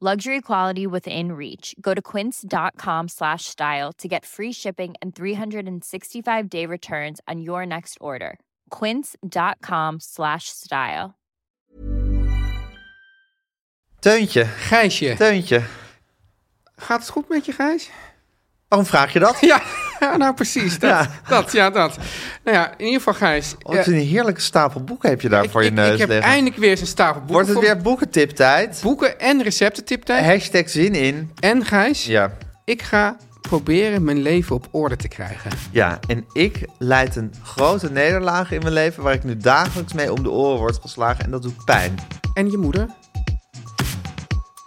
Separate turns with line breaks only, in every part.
Luxury quality within reach. Go to quince.com slash style to get free shipping and 365 day returns on your next order. Quince.com slash style.
Teuntje,
Gijsje.
Teuntje.
Gaat het goed met je, Gijs?
Waarom Oh, vraag je dat?
Ja, ja, nou precies. Dat,
Ja.
ja. dat, ja, dat. Nou ja, in ieder geval, Gijs.
Oh, het
eh,
is een heerlijke stapel boeken heb je daar
ik,
voor je
ik-
neus
ik heb
liggen.
eindelijk weer eens een stapel boeken.
Wordt het
voor
weer boekentiptijd?
Boeken en receptentiptijd.
Hashtag zin in.
En Gijs,
Ja.
ik ga proberen mijn leven op orde te krijgen.
ja, en ik leid een grote nederlaag in mijn leven... waar ik nu dagelijks mee om de oren word geslagen en dat doet pijn.
En je moeder?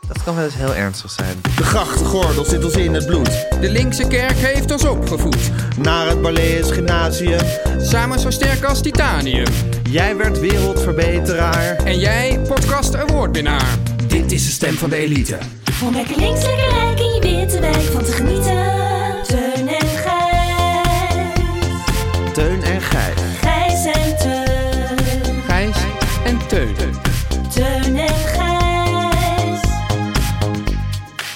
Dat kan wel eens heel ernstig zijn.
De grachtgordel zit ons in het bloed.
De linkse kerk heeft ons opgevoed.
Naar het Barlees Gymnasium.
Samen zo sterk als titanium.
Jij werd wereldverbeteraar.
En jij, podcast awardwinnaar.
Dit is de stem van de elite.
Om lekker links, lekker rijk in je witte wijk van te genieten. Teun en Gijs.
Teun en Gijs.
Gijs en Teun.
Gijs en Teun.
Teun en Gijs.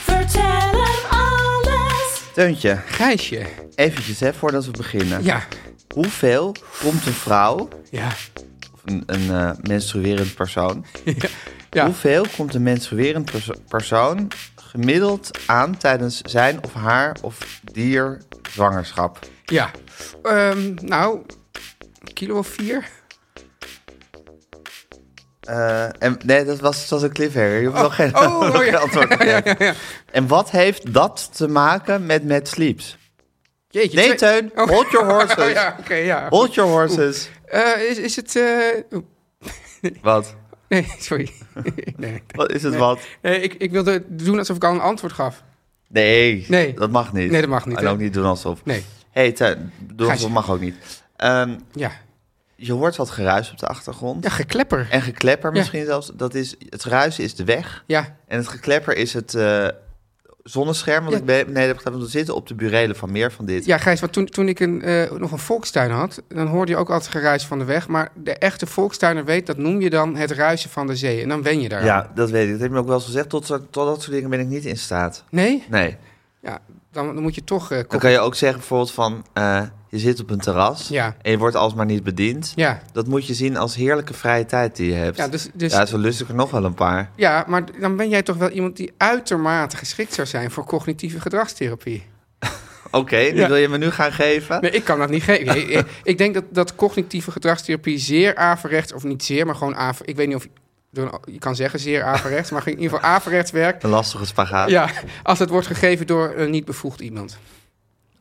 Vertel hem alles.
Teuntje,
Gijsje.
eventjes hè, voordat we beginnen.
Ja.
Hoeveel komt een vrouw,
Ja.
of een, een eh, menstruerend persoon...
Ja.
Hoeveel komt een menstruerend perso- persoon gemiddeld aan tijdens zijn of haar of dier zwangerschap?
Ja. Ehm, nou, een kilo of vier.
Eh, en, nee, dat was, dat was een cliffhanger. Je hebt nog geen,
oh,
nog geen
ja.
antwoord gegeven. En wat heeft dat te maken met Mad Sleeps?
Jeetje.
Nee,
twee-
Teun,
Oh.
hold your horses.
Oh, ja, oké, ja.
Hold your horses.
Eh, is, is het... eh, oeh,
Wat?
nee, sorry. nee.
Wat is het wat?
Nee, ik, ik wilde doen alsof ik al een antwoord gaf.
Nee,
Nee.
dat mag niet.
Nee, dat mag niet,
En
hè?
ook niet doen alsof.
Nee.
hey, Teun, doen alsof
Gijs.
mag ook niet. Ehm,
Ja.
je hoort wat geruis op de achtergrond.
Ja, geklepper.
En geklepper
Ja.
misschien zelfs. Dat is, het ruisen is de weg.
Ja.
En het geklepper is het eh, zonnescherm. Want
Ja.
ik ben beneden heb gedaan. Want we zitten op de burelen van meer van dit.
Ja, Gijs, want toen, toen ik een, eh, nog een volkstuin had, dan hoorde je ook altijd geruis van de weg. Maar de echte volkstuiner weet, dat noem je dan het ruisen van de zee. En dan wen je daar.
Ja, dat weet ik. Dat heb je me ook wel eens gezegd. Tot, zo- tot dat soort dingen ben ik niet in staat.
Nee?
Nee.
Ja, dan, dan moet je toch... eh,
Dan
kop-
kan je ook zeggen bijvoorbeeld van... eh, je zit op een terras
Ja.
en je wordt alsmaar niet bediend.
Ja.
Dat moet je zien als heerlijke vrije tijd die je hebt.
Ja, dus- dus-
ja, zo lust ik er nog wel een paar.
Ja, maar dan ben jij toch wel iemand die uitermate geschikt zou zijn voor cognitieve gedragstherapie.
Oké, die
Ja.
wil je me nu gaan geven?
Nee, ik kan dat niet geven. Nee, eh, ik denk dat, dat cognitieve gedragstherapie zeer averechts, of niet zeer, maar gewoon averechts. Ik weet niet of door een- je kan zeggen zeer averechts, maar in ieder geval averechts werkt.
Een lastige spagaat.
Ja, als het wordt gegeven door een niet bevoegd iemand.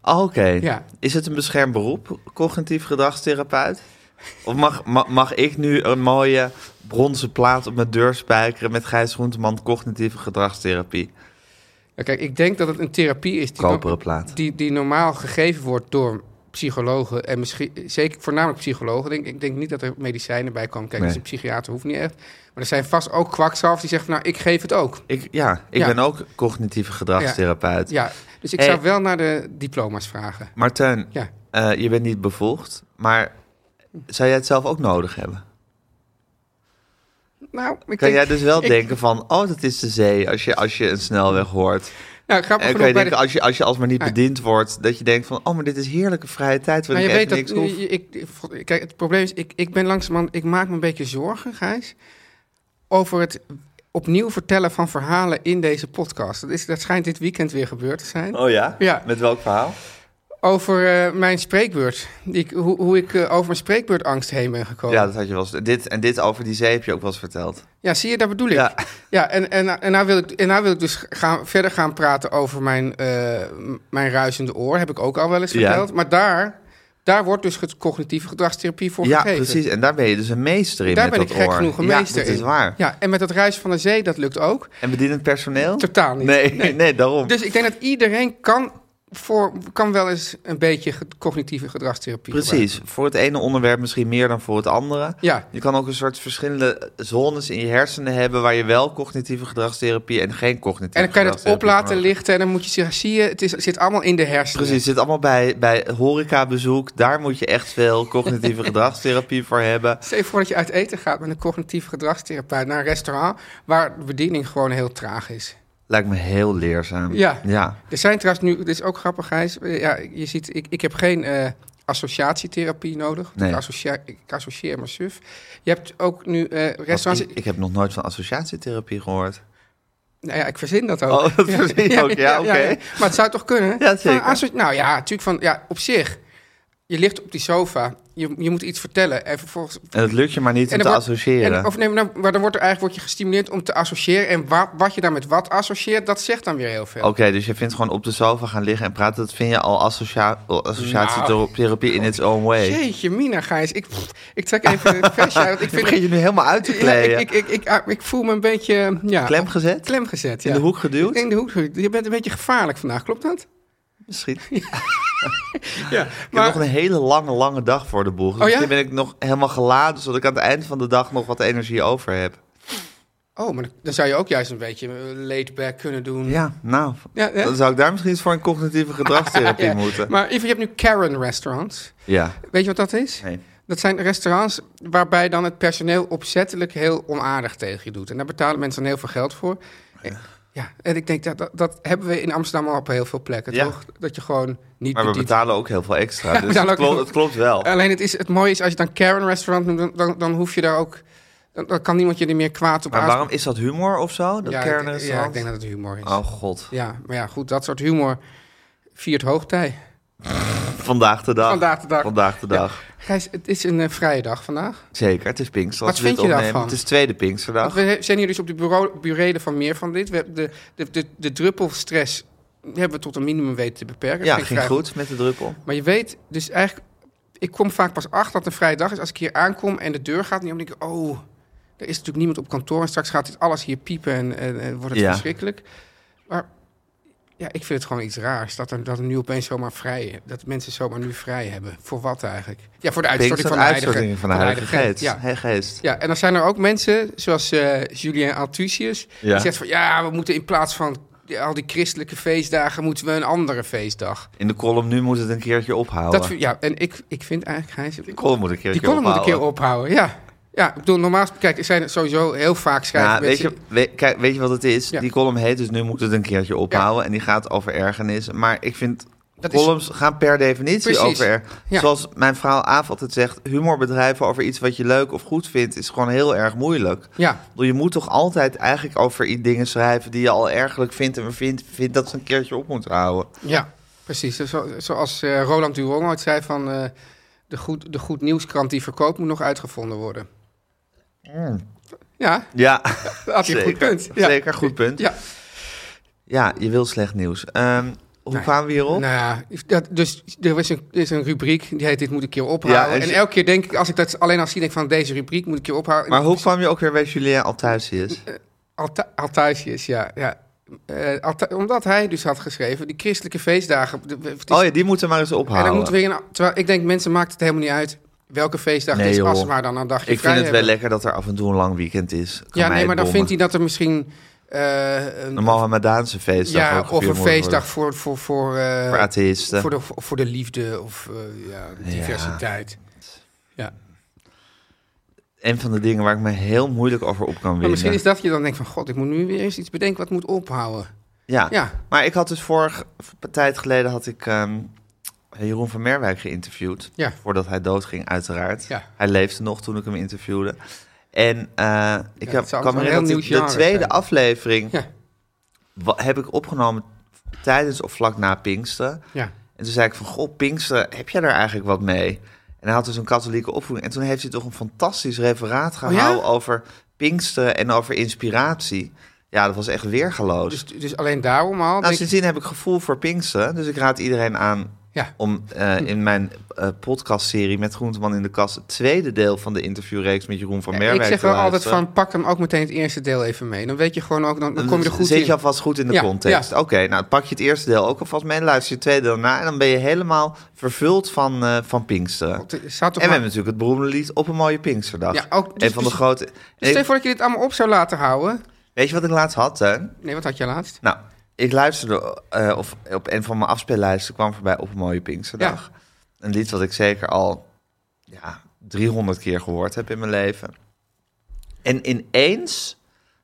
Oh, Oké.
Ja.
Is het een beschermd beroep, cognitief gedragstherapeut? Of mag, ma- mag ik nu een mooie bronzen plaat op mijn deur spijkeren met Gijs Groenteman cognitieve gedragstherapie?
Ja, kijk, ik denk dat het een therapie is die,
Koperen plaat.
die, die normaal gegeven wordt door psychologen en misschien, zeker voornamelijk psychologen. Ik denk, ik denk niet dat er medicijnen bij komen. Kijk,
Nee.
als een psychiater hoeft niet echt. Maar er zijn vast ook kwakzalvers die zeggen, nou, ik geef het ook.
Ik, ja, ik
Ja.
ben ook cognitieve gedragstherapeut.
Ja, dus ik
Hey.
zou wel naar de diploma's vragen.
Martijn,
Ja.
eh, je bent niet bevoegd, maar zou jij het zelf ook nodig hebben?
Nou, ik
Kan
denk,
jij dus wel
ik-
denken van, oh, dat is de zee, als je, als je een snelweg hoort.
Nou, grappig
En kan
genoeg
je
bij de...
denken, als je, als je alsmaar niet
Ah.
bediend wordt, dat je denkt van, oh, maar dit is heerlijke vrije tijd, waar
Maar je
ik
weet
echt
dat...
niks hoef.
je- Ik, ik- kijk, het probleem is, ik, ik ben langzamerhand... Ik maak me een beetje zorgen, Gijs, over het opnieuw vertellen van verhalen in deze podcast. Dat, is, dat schijnt dit weekend weer gebeurd te zijn.
Oh ja?
Ja.
Met welk verhaal?
over eh, mijn spreekbeurt. Ik, hoe, hoe ik eh, over mijn spreekbeurtangst heen ben gekomen.
Ja,
Ja,
dat had je wel eens. Dit, en dit over die zee heb je ook wel eens verteld.
zie je, dat bedoel ik.
Ja.
Ja, en, en, en, nou wil ik, en nou wil ik dus gaan, verder gaan praten over mijn, eh, m- mijn ruisende oor. Heb ik ook al wel eens
Ja.
verteld. Maar daar, daar wordt dus ge- cognitieve gedragstherapie voor
ja,
gegeven.
precies. En daar ben je dus een meester in
Daar
met
ben ik
dat
gek
oor.
genoeg een
ja,
meester
dat is
in.
waar.
Ja, en met dat ruis van de zee, dat lukt ook.
En bedienend personeel?
Totaal niet.
Nee, nee, daarom.
Dus ik denk dat iedereen kan, voor, kan wel eens een beetje ge- cognitieve gedragstherapie gebruiken.
Precies. Voor het ene onderwerp misschien meer dan voor het andere.
Ja.
Je kan ook een soort verschillende zones in je hersenen hebben... waar je wel cognitieve gedragstherapie en geen cognitieve
En dan kan je dat op
gedragstherapie
laten
kan
liggen en dan moet je zeggen, zie je, het, is, het zit allemaal in de hersenen.
Precies, zit allemaal bij, bij horecabezoek. Daar moet je echt veel cognitieve gedragstherapie voor hebben.
Stel je voor dat je uit eten gaat met een cognitief gedragstherapeut naar een restaurant waar de bediening gewoon heel traag is.
Lijkt me heel leerzaam.
Ja.
ja.
Er zijn trouwens nu, dit is ook grappig Gijs, eh, ja, je ziet, ik, ik heb geen eh, associatietherapie nodig. want
Nee.
Ik, associeer, ik associeer me suf. Je hebt ook nu eh, restaurants...
Ik, ik heb nog nooit van associatietherapie gehoord.
Nou ja, ik verzin dat ook.
Oh, dat verzin je ook. Ja, oké.
Maar het zou toch kunnen?
Ja, zeker.
Van, als we- nou ja, natuurlijk van, ja, op zich. Je ligt op die sofa, je, je moet iets vertellen en vervolgens...
En het lukt je maar niet om
en
te
dan wordt-
associëren.
en- of nee, maar dan, maar dan wordt er eigenlijk word je gestimuleerd om te associëren. En wa- wat je dan met wat associeert, dat zegt dan weer heel veel.
Oké, dus je vindt gewoon op de sofa gaan liggen en praten... dat vind je al associa associatietherapie
Nou.
in its own way.
Jeetje, Mina, Gijs. Ik, ik trek even het versje uit. want Ik
Ik
vind,
begin je nu helemaal uit te
ja,
kleden.
ik, ik, ik, ik, ah, ik voel me een beetje... Ja,
Klem gezet?
klem gezet,
In
ja.
de hoek geduwd?
In de hoek geduwd. Je bent een beetje gevaarlijk vandaag, klopt dat?
Misschien. Ik
Ja,
heb nog een hele lange, lange dag voor de boeg. Dus
Oh ja?
Misschien ben ik nog helemaal geladen... zodat ik aan het eind van de dag nog wat energie over heb.
Oh, maar dan zou je ook juist een beetje eh, laid back kunnen doen.
Ja, nou...
Ja, hè?
Dan zou ik daar misschien eens voor een cognitieve gedragstherapie
Ja.
moeten.
Maar Ivo, je hebt nu Karen restaurants.
Ja.
Weet je wat dat is?
Nee.
Dat zijn restaurants waarbij dan het personeel opzettelijk heel onaardig tegen je doet. En daar betalen mensen dan heel veel geld voor. Ja, en ik denk dat, dat, dat hebben we in Amsterdam al op heel veel plekken,
Ja.
toch? Dat je gewoon niet
Maar we
bedient.
betalen ook heel veel extra.
Ja, we
dus
betalen
het
ook
klopt,
heel-
het klopt wel.
Alleen het, is, het mooie is, als je dan Karen restaurant noemt, dan, dan, dan hoef je daar ook... Dan, dan kan niemand je er meer kwaad op
Maar
aanspreken.
waarom is dat humor of zo? Dat
Ja, ik-
kernrestaurant?
Ja, ik denk dat het humor is.
Oh god.
Ja, maar ja, goed, dat soort humor viert hoogtij.
Vandaag de dag.
Vandaag de dag.
Vandaag de dag.
Gijs, het is een eh, vrije dag vandaag.
Zeker, het is Pinkster. als
Wat
we dit
vind je
opnemen.
daarvan?
Het is tweede
Want
Pinksterdag.
we zijn hier dus op de bureau, burelen van meer van dit. We hebben de, de, de, de druppelstress hebben we tot een minimum weten te beperken.
Ja,
Geen
ging
vrij-
goed met de druppel.
Maar je weet dus eigenlijk... Ik kom vaak pas achter dat het een vrije dag is. Als ik hier aankom en de deur gaat niet om, denk ik... Oh, er is natuurlijk niemand op kantoor. En straks gaat dit alles hier piepen en, en, en wordt het
Ja.
verschrikkelijk. Maar ja, ik vind het gewoon iets raars. Dat er, dat er nu opeens zomaar vrij is. Dat mensen zomaar nu vrij hebben. Voor wat eigenlijk? Ja, voor de uitstorting
Pinkster,
van de heilige,
uitstorting van de Heilige Geest.
Ja.
Hey, geest.
Ja, en dan zijn er ook mensen, zoals eh, Julien Altusius,
Ja.
die zegt van ja, we moeten in plaats van die- al die christelijke feestdagen, moeten we een andere feestdag.
In de column nu moet het een keertje ophouden.
Dat, vind- ja, en ik, ik vind eigenlijk, Gijs,
Die column moet een keertje
die column moet een
ophouden.
keer ophouden, ja. Ja, ik bedoel, normaal kijk, er zijn sowieso heel vaak schrijven
Nou, weet,
mensen-
je, weet, kijk, weet je wat het is?
Ja.
Die column heet dus nu moet het een keertje ophouden. En die gaat over ergernis. Maar ik vind
Dat is-
columns gaan per definitie
Precies.
over er.
Ja.
Zoals mijn vrouw Aaf altijd zegt... humor bedrijven over iets wat je leuk of goed vindt... is gewoon heel erg moeilijk.
Ja.
Ik bedoel, Je moet toch altijd eigenlijk over i- dingen schrijven... die je al ergerlijk vindt en vindt, vindt dat ze een keertje op moeten houden.
Ja, precies. Zo, zoals eh, Roland Durong ooit zei van eh, de, goed, de goed nieuwskrant die verkoopt moet nog uitgevonden worden. Ja,
Mm. Ja,
dat had je een
zeker.
goed punt. Ja.
Zeker, goed punt. Ja,
Ja,
je wil slecht nieuws. Ehm, hoe
Nee.
kwamen we hierop?
Nou ja, dat, dus er is, een, er is een rubriek die heet Dit moet ik keer ophouden.
Ja, en
en
ze-
elke keer denk ik, als ik dat alleen al zie, denk ik van deze rubriek moet ik keer ophouden.
Maar hoe kwam je ook weer bij Julien al thuis is?
Alta- Althuisjes, ja. ja. Eh, Alta- omdat hij dus had geschreven, die christelijke feestdagen. de- het is-
Oh ja, die moeten maar eens ophouden.
en dan moeten we weer een- terwijl ik denk, mensen maakt het helemaal niet uit welke feestdag
Nee,
het is, als
joh.
ze maar dan een dagje
Ik
vrij
vind het wel
hebben.
lekker dat er af en toe een lang weekend is. Kan
Ja,
mij
nee,
het
maar dan
bommen.
vindt hij dat er misschien... eh,
Een
een,
Mohammedaanse feestdag
ja,
ook
of
gevierd
een
moet worden.
feestdag voor, voor, voor, eh,
Voor atheïsten.
voor, de, voor de liefde of eh, ja, diversiteit. Ja.
Een van de dingen waar ik me heel moeilijk over op kan
Maar
winden.
Oh, misschien is dat je dan denkt van... God, ik moet nu weer eens iets bedenken wat moet ophouden.
ja.
Ja.
maar ik had dus vorig, een tijd geleden had ik ehm, Jeroen van Merwijk geïnterviewd.
Ja.
Voordat hij doodging, uiteraard.
Ja.
Hij leefde nog toen ik hem interviewde. En eh, ik
dat
heb,
zou
kan
zo'n
me
heel
herinneren dat
nieuw
ik de
genre
tweede
zijn.
aflevering
Ja,
wa- heb ik opgenomen tijdens of vlak na Pinksteren.
ja.
En toen zei ik van, goh, Pinkster, heb jij daar eigenlijk wat mee? En hij had dus een katholieke opvoeding. En toen heeft hij toch een fantastisch referaat
Oh ja?
gehouden over Pinksteren en over inspiratie. Ja, dat was echt weergeloos.
Dus, dus alleen daarom al.
nou,
denk ik-
sindsdien heb ik gevoel voor Pinksteren. Dus ik raad iedereen aan
ja.
om eh, in mijn eh, podcastserie met Groenteman in de Kast... het tweede deel van de interviewreeks met Jeroen van Merwijk
Ik zeg
te
wel altijd
luisteren.
van, pak hem ook meteen het eerste deel even mee. Dan weet je gewoon ook, dan, dan kom je er goed
Zit
in.
je alvast goed in de
Ja,
context.
ja.
Oké, nou pak je het eerste deel ook alvast mee. Luister je het tweede deel na. En dan ben je helemaal vervuld van, eh, van Pinksteren.
Want er staat
En
toch
we
maar-
hebben natuurlijk het beroemde lied Op een mooie Pinksterdag.
Ja, ook- dus-
een van de
dus-
grote...
Dus stel
Ik-
je voor dat je dit allemaal op zou laten houden.
weet je wat ik laatst had, hè?
Nee, wat had je laatst?
Nou, ik luisterde eh, of op een van mijn afspeellijsten kwam voorbij Op een mooie Pinksterdag. Een lied wat ik zeker al ja, 300 keer gehoord heb in mijn leven. En ineens,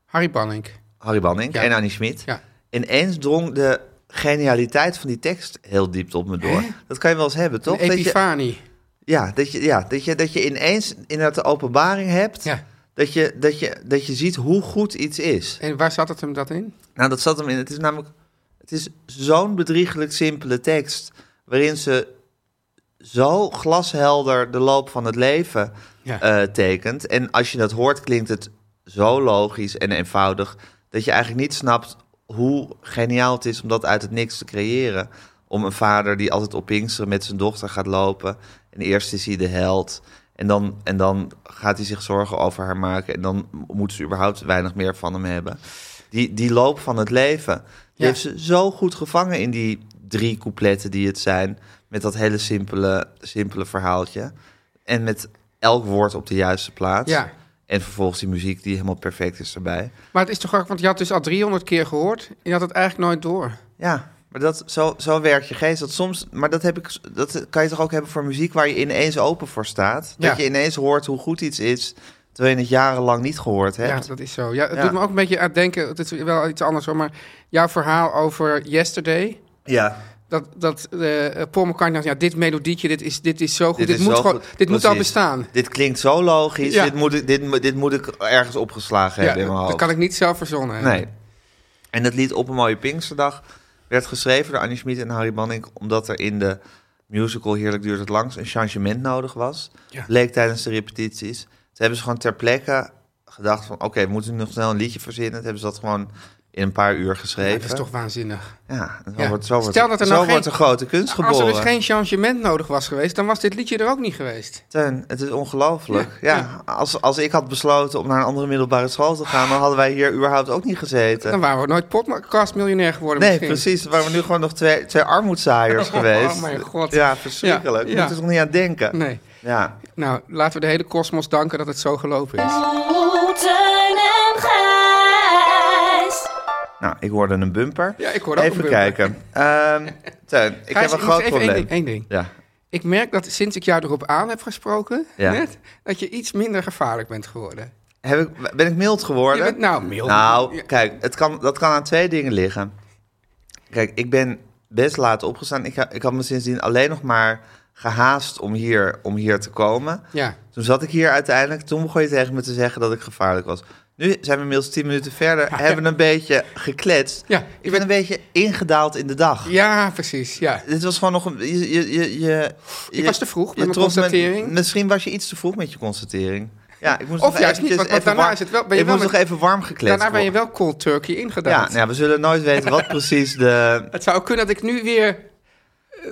Harry Banning.
Harry Banning
Ja.
en Annie Schmid...
Ja.
ineens drong de genialiteit van die tekst heel diep tot me door. Dat kan je wel eens hebben, toch?
Een
Dat je,
Epifanie.
ja, dat je, ja dat, je, dat je ineens inderdaad de openbaring hebt...
Ja.
Dat, je, dat, je, dat je ziet hoe goed iets is.
En waar zat het hem dat in?
Nou, dat zat hem in. Het is namelijk. Het is zo'n bedriegelijk simpele tekst. Waarin ze zo glashelder de loop van het leven
Ja.
eh, tekent. En als je dat hoort, klinkt het zo logisch en eenvoudig. dat je eigenlijk niet snapt hoe geniaal het is om dat uit het niks te creëren. Om een vader die altijd op Pinksteren met zijn dochter gaat lopen. En eerst is hij de held. En dan, en dan gaat hij zich zorgen over haar maken. En dan moet ze überhaupt weinig meer van hem hebben. Die, die loop van het leven. Die
Ja.
heeft ze zo goed gevangen in die drie coupletten die het zijn. Met dat hele simpele, simpele verhaaltje. En met elk woord op de juiste plaats.
Ja.
En vervolgens die muziek die helemaal perfect is erbij.
Maar het is toch ook, want je had dus al 300 keer gehoord. En je had het eigenlijk nooit door.
Ja, maar dat, zo, zo werkt je geest. Dat soms, maar dat, heb ik, dat kan je toch ook hebben voor muziek waar je ineens open voor staat. Dat
Ja.
je ineens hoort hoe goed iets is, terwijl je het jarenlang niet gehoord hebt.
Ja, dat is zo. Ja, het
Ja.
doet me ook een beetje aan het denken, het is wel iets anders hoor, maar jouw verhaal over Yesterday,
Ja.
dat, dat eh, Paul McCartney dacht, ja, dit melodietje, dit is, dit is zo goed, dit,
is
moet,
zo
gewoon,
goed.
dit moet al
Precies.
bestaan.
Dit klinkt zo logisch.
Ja.
Dit, moet ik, dit, moet- dit moet ik ergens opgeslagen
Ja,
hebben in
dat,
mijn hoofd.
dat kan ik niet zelf verzonnen hebben.
Nee. En dat lied Op een mooie Pinksterdag werd geschreven door Annie Schmid en Harry Banning... omdat er in de musical Heerlijk duurt het langs een changement nodig was.
Ja.
Leek tijdens de repetities. Toen hebben ze gewoon ter plekke gedacht van... oké, we moeten nu nog snel een liedje verzinnen. Toen hebben ze dat gewoon in een paar uur
Ja,
geschreven.
dat is toch waanzinnig.
Ja, en zo
Ja.
wordt, zo wordt,
Stel dat er
zo
nou
wordt
geen-
de grote kunst geboren.
Als er dus geen changement nodig was geweest, dan was dit liedje er ook niet geweest.
Teun, het is ongelooflijk. Ja,
Ja,
Als, als ik had besloten om naar een andere middelbare school te gaan... dan hadden wij hier überhaupt ook niet gezeten.
Dan waren we nooit podcastmiljonair geworden
Nee,
misschien.
precies. Waar we nu gewoon nog twee, twee armoedzaaiers geweest.
Oh mijn god.
Ja, verschrikkelijk.
Ja,
Je
ja.
moet er nog niet aan denken.
Nee.
Ja.
Nou, laten we de hele kosmos danken dat het zo gelopen is.
Oh, Teun en Gijs.
Nou, ik hoorde een bumper.
Ja, ik hoorde ook
even
een bumper.
kijken. Ehm Teun, ik
Gijs,
heb een
nog
groot
even één
probleem.
ding, één ding.
Ja.
Ik merk dat sinds ik jou erop aan heb gesproken,
Ja.
net, dat je iets minder gevaarlijk bent geworden.
Heb ik, ben ik mild
Je
geworden?
bent nou mild.
Nou,
Ja.
kijk, het kan, dat kan aan twee dingen liggen. Kijk, ik ben best laat opgestaan. Ik, ha- ik had me sindsdien alleen nog maar gehaast om hier, om hier te komen.
Ja.
Toen zat ik hier uiteindelijk. Toen begon je tegen me te zeggen dat ik gevaarlijk was. Nu zijn we inmiddels tien minuten verder. Hebben we een beetje gekletst.
Ja, je
ik ben
bent-
een beetje ingedaald in de dag.
ja, precies. Ja.
Dit was gewoon nog een... Je, je, je, je, je-
was te vroeg met mijn
trof me-
constatering.
misschien was je iets te vroeg met je constatering. Ja, ik moest
Of
nog
juist niet,
eventjes
want- want
even
daarna
warm-
is het wel- ben je
ik
wel
moest
met-
nog even warm gekletst
Daarna ben je
worden.
wel cold turkey
Ja,
ingedaald.
nou ja, we zullen nooit weten wat precies de...
Het zou ook kunnen dat ik nu weer...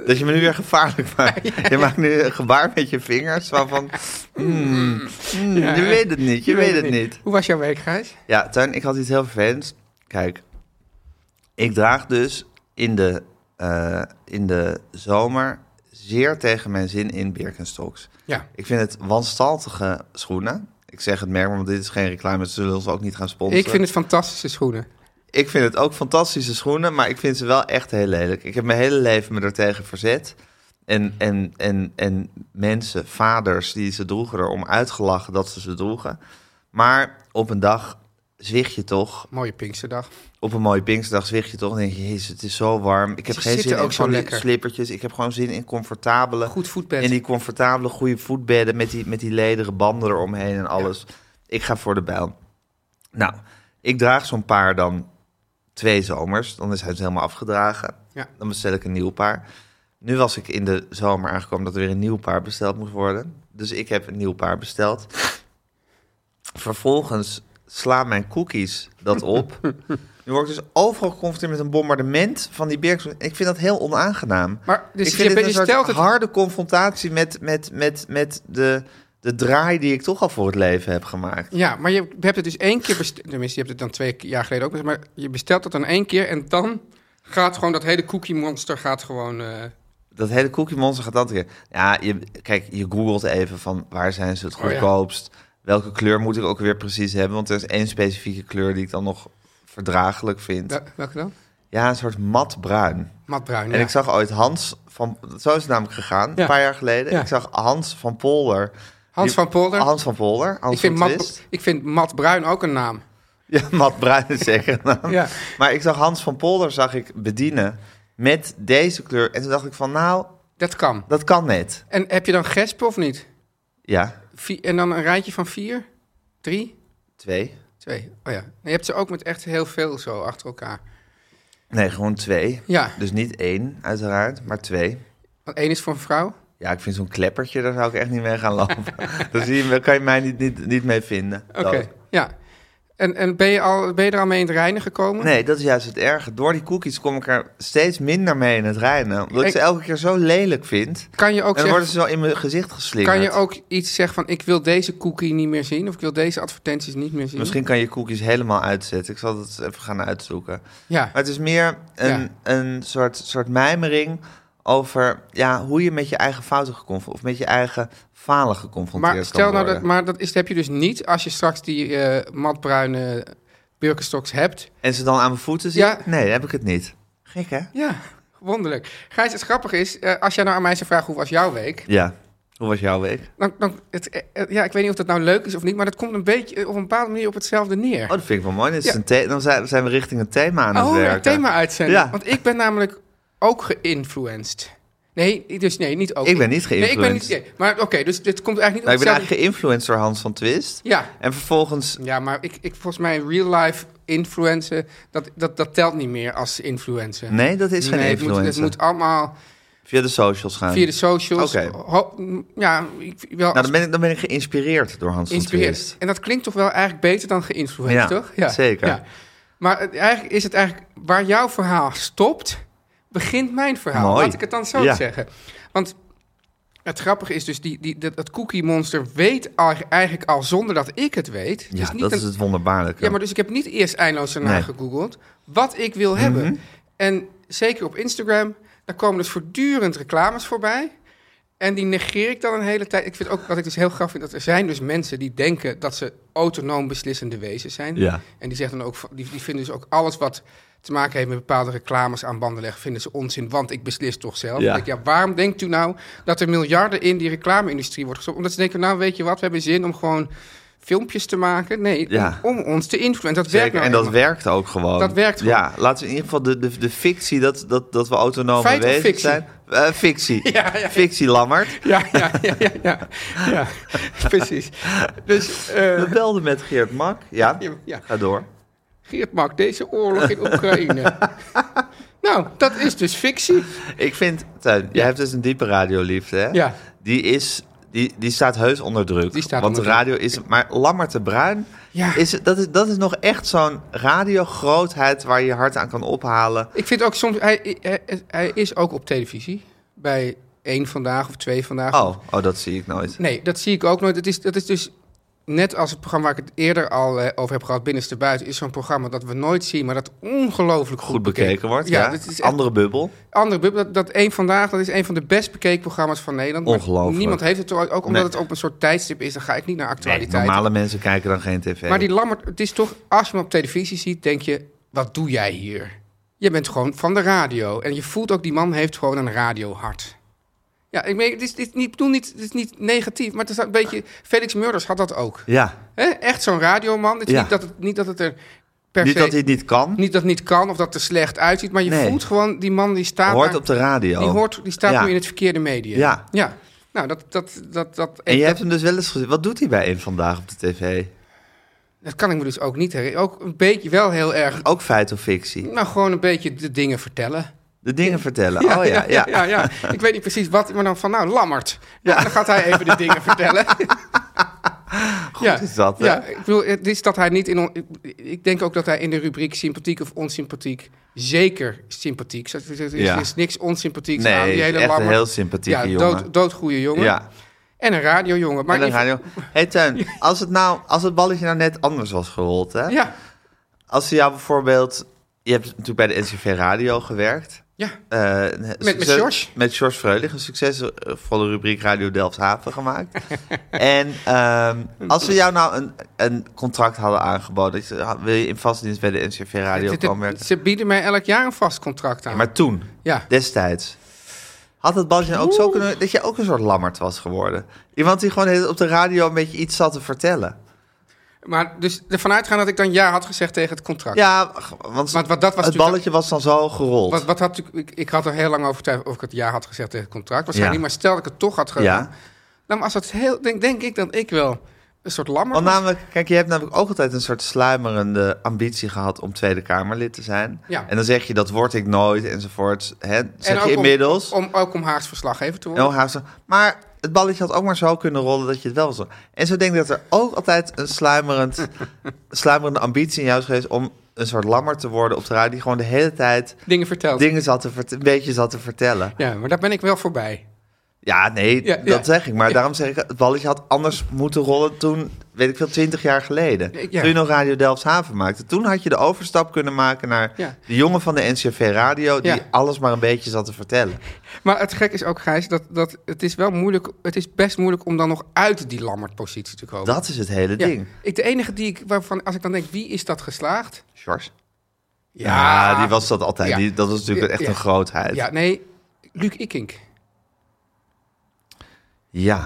Dat je me nu weer gevaarlijk maakt. Je maakt nu een gebaar met je vingers. Zo van... mm, mm, Je weet het niet, je weet het niet.
Hoe was jouw week, Gijs?
Ja, Tuin, ik had iets heel vervelends. Kijk, ik draag dus in de, eh, in de zomer zeer tegen mijn zin in Birkenstocks.
Ja.
Ik vind het wanstaltige schoenen. Ik zeg het merk, want dit is geen reclame. Ze zullen ons ook niet gaan sponsoren.
Ik vind het fantastische schoenen.
Ik vind het ook fantastische schoenen, maar ik vind ze wel echt heel lelijk. Ik heb mijn hele leven me ertegen verzet. En, en, en, en mensen, vaders, die ze droegen erom uitgelachen dat ze ze droegen. Maar op een dag zwicht je toch
Mooie Pinksterdag.
op een mooie Pinksterdag zwicht je toch en denk je, jezus, het is zo warm. Ik heb
Ze
geen
zitten
zin in
ook zo
van die
lekker.
slippertjes. Ik heb gewoon zin in comfortabele...
Goed voetbed.
In die comfortabele, goede voetbedden met die, met die lederen banden eromheen en alles. Ik ga voor de bijl. Nou, ik draag zo'n paar dan twee zomers. Dan is hij dus helemaal afgedragen.
Ja.
Dan bestel ik een nieuw paar. Nu was ik in de zomer aangekomen dat er weer een nieuw paar besteld moest worden. Dus ik heb een nieuw paar besteld. Vervolgens slaan mijn cookies dat op. Nu word ik dus overal geconfronteerd met een bombardement van die Birks. Ik vind dat heel onaangenaam.
Maar dus
ik vind
je,
het
bent-
een
je
soort
stelt het...
harde confrontatie met, met, met, met de, de draai die ik toch al voor het leven heb gemaakt.
Ja, maar je hebt het dus één keer besteld. Tenminste, je hebt het dan twee jaar geleden ook besteld. Maar je bestelt het dan één keer en dan gaat gewoon dat hele cookie monster gaat gewoon... eh,
Dat hele cookie monster gaat dat keer. Ja, je, kijk, je googelt even van waar zijn ze het
Oh, ja.
goedkoopst. Welke kleur moet ik ook weer precies hebben? Want er is één specifieke kleur die ik dan nog verdraaglijk vind. Ja,
wel- welke dan?
een soort mat bruin.
Matbruin,
En
ja.
ik zag ooit Hans van... Zo is het namelijk gegaan,
Ja.
een paar jaar geleden.
Ja.
Ik zag Hans van Polder.
Hans van Polder.
Hans van Polder. Hans
ik, vind
van
Mat,
Twist.
ik vind Mat Bruin ook een naam.
Ja, Mat Bruin is zeker een naam.
Ja.
Maar ik zag Hans van Polder zag ik bedienen met deze kleur. En toen dacht ik van, nou,
Dat kan.
dat kan net.
En heb je dan gespen of niet?
Ja,
Vier, en dan een rijtje van vier? Drie?
twee.
Twee. Oh ja. En je hebt ze ook met echt heel veel zo achter elkaar.
Nee, gewoon twee.
Ja.
Dus niet één, uiteraard, maar twee.
Want één is voor een vrouw.
Ja, ik vind zo'n kleppertje, daar zou ik echt niet mee gaan lopen. daar zie je- daar kan je mij niet, niet, niet mee vinden.
Oké. Ja. En, en ben, je al, ben je er al mee in het reinen gekomen?
Nee, dat is juist het erge. Door die cookies kom ik er steeds minder mee in het rijden. Omdat ik
Ik-
ze elke keer zo lelijk vind.
Kan je
En
ook
dan
zeggen...
worden ze zo in mijn gezicht geslingerd.
Kan je ook iets zeggen van ik wil deze cookie niet meer zien of ik wil deze advertenties niet meer zien?
Misschien kan je cookies helemaal uitzetten. Ik zal dat eens even gaan uitzoeken.
Ja.
Maar het is meer een,
Ja.
een soort, soort mijmering over ja, hoe je met je eigen fouten geconfronteerd of met je eigen falen geconfronteerd
Maar
kan
stel nou
worden.
dat, maar dat is, heb je dus niet als je straks die eh, matbruine Birkenstocks hebt.
En ze dan aan mijn voeten zien?
Ja.
Nee, heb ik het niet. Gek hè?
Ja, wonderlijk. Gijs, het grappige is, eh, als jij nou aan mij zou vragen hoe was jouw week,
Ja. Hoe was jouw week? Oh,
dan, dan het, eh, eh, ja, ik weet niet of dat nou leuk is of niet, maar dat komt een beetje eh, op een bepaalde manier op hetzelfde neer.
Oh, dat vind ik wel mooi. Dit is
Ja. Oh,
een the- dan zijn zijn we richting een thema aan het werken.
een thema-uitzending.
Ja.
Want ik ben namelijk ook geïnfluenced. Nee, dus nee, niet ook.
Ik ben niet geïnfluenced.
Nee, ik ben niet. nee, maar oké, dus dit komt eigenlijk
Nou,
niet
ik
op
ben
hetzelfde.
eigenlijk geïnfluenced door Hans van Twist.
Ja,
En vervolgens...
Ja, maar ik, ik volgens mij real life influencer, dat, dat, dat telt niet meer als influencer.
Nee, dat is geen
Nee, het moet,
influencer.
het moet allemaal
Via de socials gaan.
via de socials.
Oké.
Ho- m, ja, ik, wel
Nou, dan ben, ik, dan ben ik geïnspireerd door Hans van
geïnspireerd.
Twist.
En dat klinkt toch wel eigenlijk beter dan geïnfluenced,
Ja,
toch?
zeker.
Maar het- eigenlijk is het eigenlijk waar jouw verhaal stopt, begint mijn verhaal.
Mooi.
Laat ik het dan zo
Ja.
zeggen. Want het grappige is dus, die, die, dat, dat cookie monster weet al- eigenlijk al zonder dat ik het weet. Het
Ja,
niet
dat
een-
is het wonderbaarlijke.
Ja, maar dus ik heb niet eerst eindeloos ernaar
Nee. Mhm.
gegoogeld wat ik wil hebben. En zeker op Instagram, daar komen dus voortdurend reclames voorbij. En die negeer ik dan een hele tijd. Ik vind ook wat ik dus heel grappig vind, dat er zijn dus mensen die denken dat ze autonoom beslissende wezens zijn.
Ja.
En die zeggen dan ook, van- die, die vinden dus ook alles wat te maken heeft met bepaalde reclames aan banden leggen, vinden ze onzin, want ik beslis toch zelf.
Ja.
Dan denk ik, ja, waarom denkt u nou dat er miljarden in die reclame-industrie wordt gestopt? Omdat ze denken, nou weet je wat, we hebben zin om gewoon filmpjes te maken. Nee,
Ja.
om ons te influencen. Dat
Zeker,
werkt nou
en dat
eenmaal.
werkt ook gewoon.
Dat werkt gewoon.
Ja, laten we in ieder geval de, de, de fictie dat, dat, dat we autonome
Feit of
wezens
fictie?
zijn... Eh, fictie.
Ja, ja, ja.
Fictie, Lammert.
Ja, ja, ja, ja, ja, ja. precies. Dus eh,
We belden met Geert Mak. Ja,
Ja, ja.
ga door.
Geert Mak, deze oorlog in Oekraïne. nou, dat is dus fictie.
Ik vind, Tuin, jij hebt dus een diepe radioliefde, hè?
Ja.
Die is... Die, die staat heus onder druk.
Die staat
want
onder
de radio is... Maar Lammert de Bruin,
Ja.
is, dat, is, dat is nog echt zo'n radiogrootheid... waar je je hart aan kan ophalen.
Ik vind ook soms, hij, hij, hij is ook op televisie. Bij één vandaag of twee vandaag.
Oh, oh dat zie ik nooit.
Nee, dat zie ik ook nooit. Het is, dat is dus net als het programma waar ik het eerder al eh, over heb gehad, Binnenste Buiten, is zo'n programma dat we nooit zien, maar dat ongelooflijk goed,
Goed bekeken wordt, ja.
dat is echt-
Andere bubbel.
andere bubbel. Dat, dat één vandaag, dat is een van de best bekeken programma's van Nederland. Maar
Ongelooflijk.
Niemand heeft het ooit, ook omdat
Nee.
het op een soort tijdstip is. Dan ga ik niet naar
Nee,
actualiteit.
normale mensen kijken dan geen tv.
maar die Lammert, het is toch, als je hem op televisie ziet, denk je, wat doe jij hier? Je bent gewoon van de radio. En je voelt ook, die man heeft gewoon een radiohart. Ja, ik, meen, het is, dit niet, ik bedoel niet, het is niet negatief, maar het is een beetje... Felix Murders had dat ook.
Ja,
hè? Echt zo'n radioman. Het is
Ja.
niet, dat het, niet dat het er per
niet
se...
dat hij het niet kan,
Niet dat het niet kan of dat het er slecht uitziet, maar je
Nee.
voelt gewoon, die man die staat
hoort
daar-
op de radio.
die, hoort, die staat
Ja.
nu in het verkeerde medium.
Ja.
ja. Nou, dat, dat, dat, dat,
En je
dat,
hebt hem dus wel eens gezien. Wat doet hij bij één vandaag op de tv?
dat kan ik me dus ook niet herinneren. Ook een beetje wel heel erg.
Ook feit of fictie?
Nou, gewoon een beetje de dingen vertellen.
De dingen vertellen. oh ja, ja.
ja, ja, ja. Ik weet niet precies wat, maar dan van, nou, Lammert. Ja, dan gaat hij even de dingen vertellen. Goed ja.
is dat, hè?
Ja, ik bedoel, het is dat hij niet in... On... ik- Ik denk ook dat hij in de rubriek sympathiek of onsympathiek... Zeker sympathiek. Er is, er is
Ja.
niks onsympathieks
Nee,
aan. Die
is
hele
echt een
Lammert.
heel sympathieke
ja,
jongen.
Dood, doodgoeie jongen.
Ja.
En een radiojongen.
En
Maar
dan gaan
even-
we- hey Teun, als het, nou, als het balletje nou net anders was gerold, hè?
Ja,
Als ze jou bijvoorbeeld... Je hebt natuurlijk bij de NCV Radio gewerkt.
ja.
Eh, een succes-
met George.
Met George Freulich, een succesvolle rubriek Radio Delfshaven gemaakt. en ehm, als we jou nou een, een contract hadden aangeboden, dat je- wil je in vaste dienst bij de NCV Radio
Dit- dit-
komen werken?
ze bieden mij elk jaar een vast contract aan.
Maar toen,
ja.
destijds, had het balletje nou ook zo kunnen... dat je ook een soort lammert was geworden. Iemand die gewoon de hele tijd op de radio een beetje iets zat te vertellen.
Maar dus ervan uitgaan dat ik dan ja had gezegd tegen het contract.
Ja, want
Want wat, dat was
het
natuurlijk-
balletje was dan zo gerold.
Wat, wat had ik, ik, ik had er heel lang over twijfel of ik het ja had gezegd tegen het contract. Waarschijnlijk
Ja.
niet, maar stel dat ik het toch had gedaan.
ja.
Dan was dat heel, denk, denk ik dat ik wel een soort lammer
Want nou
was.
namelijk, kijk, je hebt namelijk ook altijd een soort sluimerende ambitie gehad om Tweede Kamerlid te zijn.
Ja.
En dan zeg je, dat word ik nooit, enzovoort. Hè?
En
Zeg
ook
je
om-
inmiddels. Nou,
Om, ook om Haags verslaggever te worden.
heel haast- maar het balletje had ook maar zo kunnen rollen dat je het wel zou. En zo denk ik dat er ook altijd een sluimerend, sluimerende ambitie in jou is geweest om een soort lammer te worden op de radio. Die gewoon de hele tijd
Dingen verteld.
dingen zat te vert- een beetje zat te vertellen.
Ja, maar daar ben ik wel voorbij.
Ja, nee,
Ja,
dat
ja.
zeg ik. Maar daarom zeg ik, het balletje had anders moeten rollen toen, weet ik veel, twintig jaar geleden.
Ja.
Toen je nog Radio Delfshaven maakte. Toen had je de overstap kunnen maken naar
Ja.
de jongen van de NCV Radio... die
Ja.
alles maar een beetje zat te vertellen.
Maar het gek is ook, Gijs, dat, dat het is wel moeilijk... Het is best moeilijk om dan nog uit die lammertpositie te komen.
Dat is het hele
Ja.
ding.
Ik, de enige die ik, waarvan, als ik dan denk, wie is dat geslaagd?
George? Ja, die was dat altijd.
Ja.
Die, dat was natuurlijk
Ja,
echt
ja.
een grootheid.
Ja,
Ja.
nee, Luc Ikink.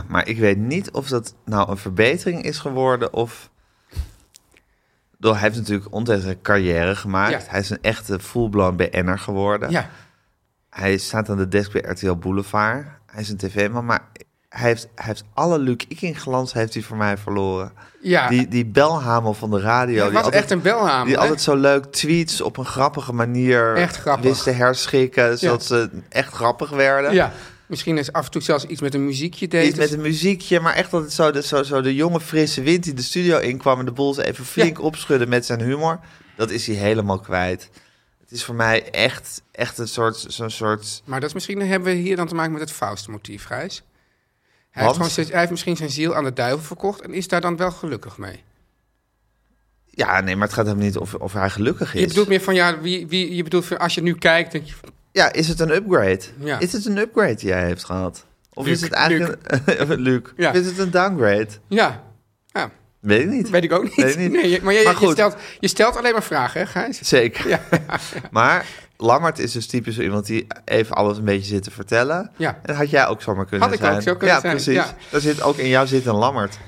maar ik weet niet of dat nou een verbetering is geworden of... Ik bedoel, Hij heeft natuurlijk ontzettend een carrière gemaakt.
Ja.
Hij is een echte full-blown BN'er geworden.
Ja.
Hij staat aan de desk bij RTL Boulevard. Hij is een tv-man, maar hij heeft, hij heeft alle Luc Iking-glans heeft hij voor mij verloren.
Ja,
Die, die belhamel van de radio.
het
die
was
altijd,
echt een belhamer.
die
hè?
altijd zo leuk tweets op een grappige manier
Echt grappig.
wist te herschikken. Zodat ze echt grappig werden.
Ja, misschien is af en toe zelfs iets met een muziekje deed. Dus-
Iets met een muziekje, maar echt dat het zo de, zo, zo de jonge frisse wind die de studio inkwam... en de boel ze even flink opschudden met zijn humor. Dat is hij helemaal kwijt. Het is voor mij echt, echt een soort, zo'n soort...
Maar dat is misschien hebben we hier dan te maken met het Faust-motief, Gijs. Hij
Want?
heeft, gewoon, steeds- hij heeft misschien zijn ziel aan de duivel verkocht en is daar dan wel gelukkig mee.
Ja, nee, maar het gaat hem niet of, of hij gelukkig is.
Je bedoelt meer van, ja, wie, wie, je bedoelt van, als je nu kijkt, denk je, van,
Ja, is het een upgrade?
Ja.
Is het een upgrade die jij heeft gehad? Of
Luc,
is het eigenlijk... Luc. Luc.
Ja.
Of is het een downgrade?
ja, ja,
Weet ik niet.
weet ik ook niet.
Weet ik niet.
Nee, je- maar je,
Maar
je
goed.
stelt, je stelt alleen maar vragen, hè, Gijs?
Zeker.
Ja,
Maar Lammert is dus typisch zo iemand die even alles een beetje zit te vertellen.
Ja.
En dat had jij ook zomaar kunnen
Had ik ook
zijn.
zo kunnen
ja,
zijn,
Precies.
ja.
Daar zit ook in jou zit een Lammert.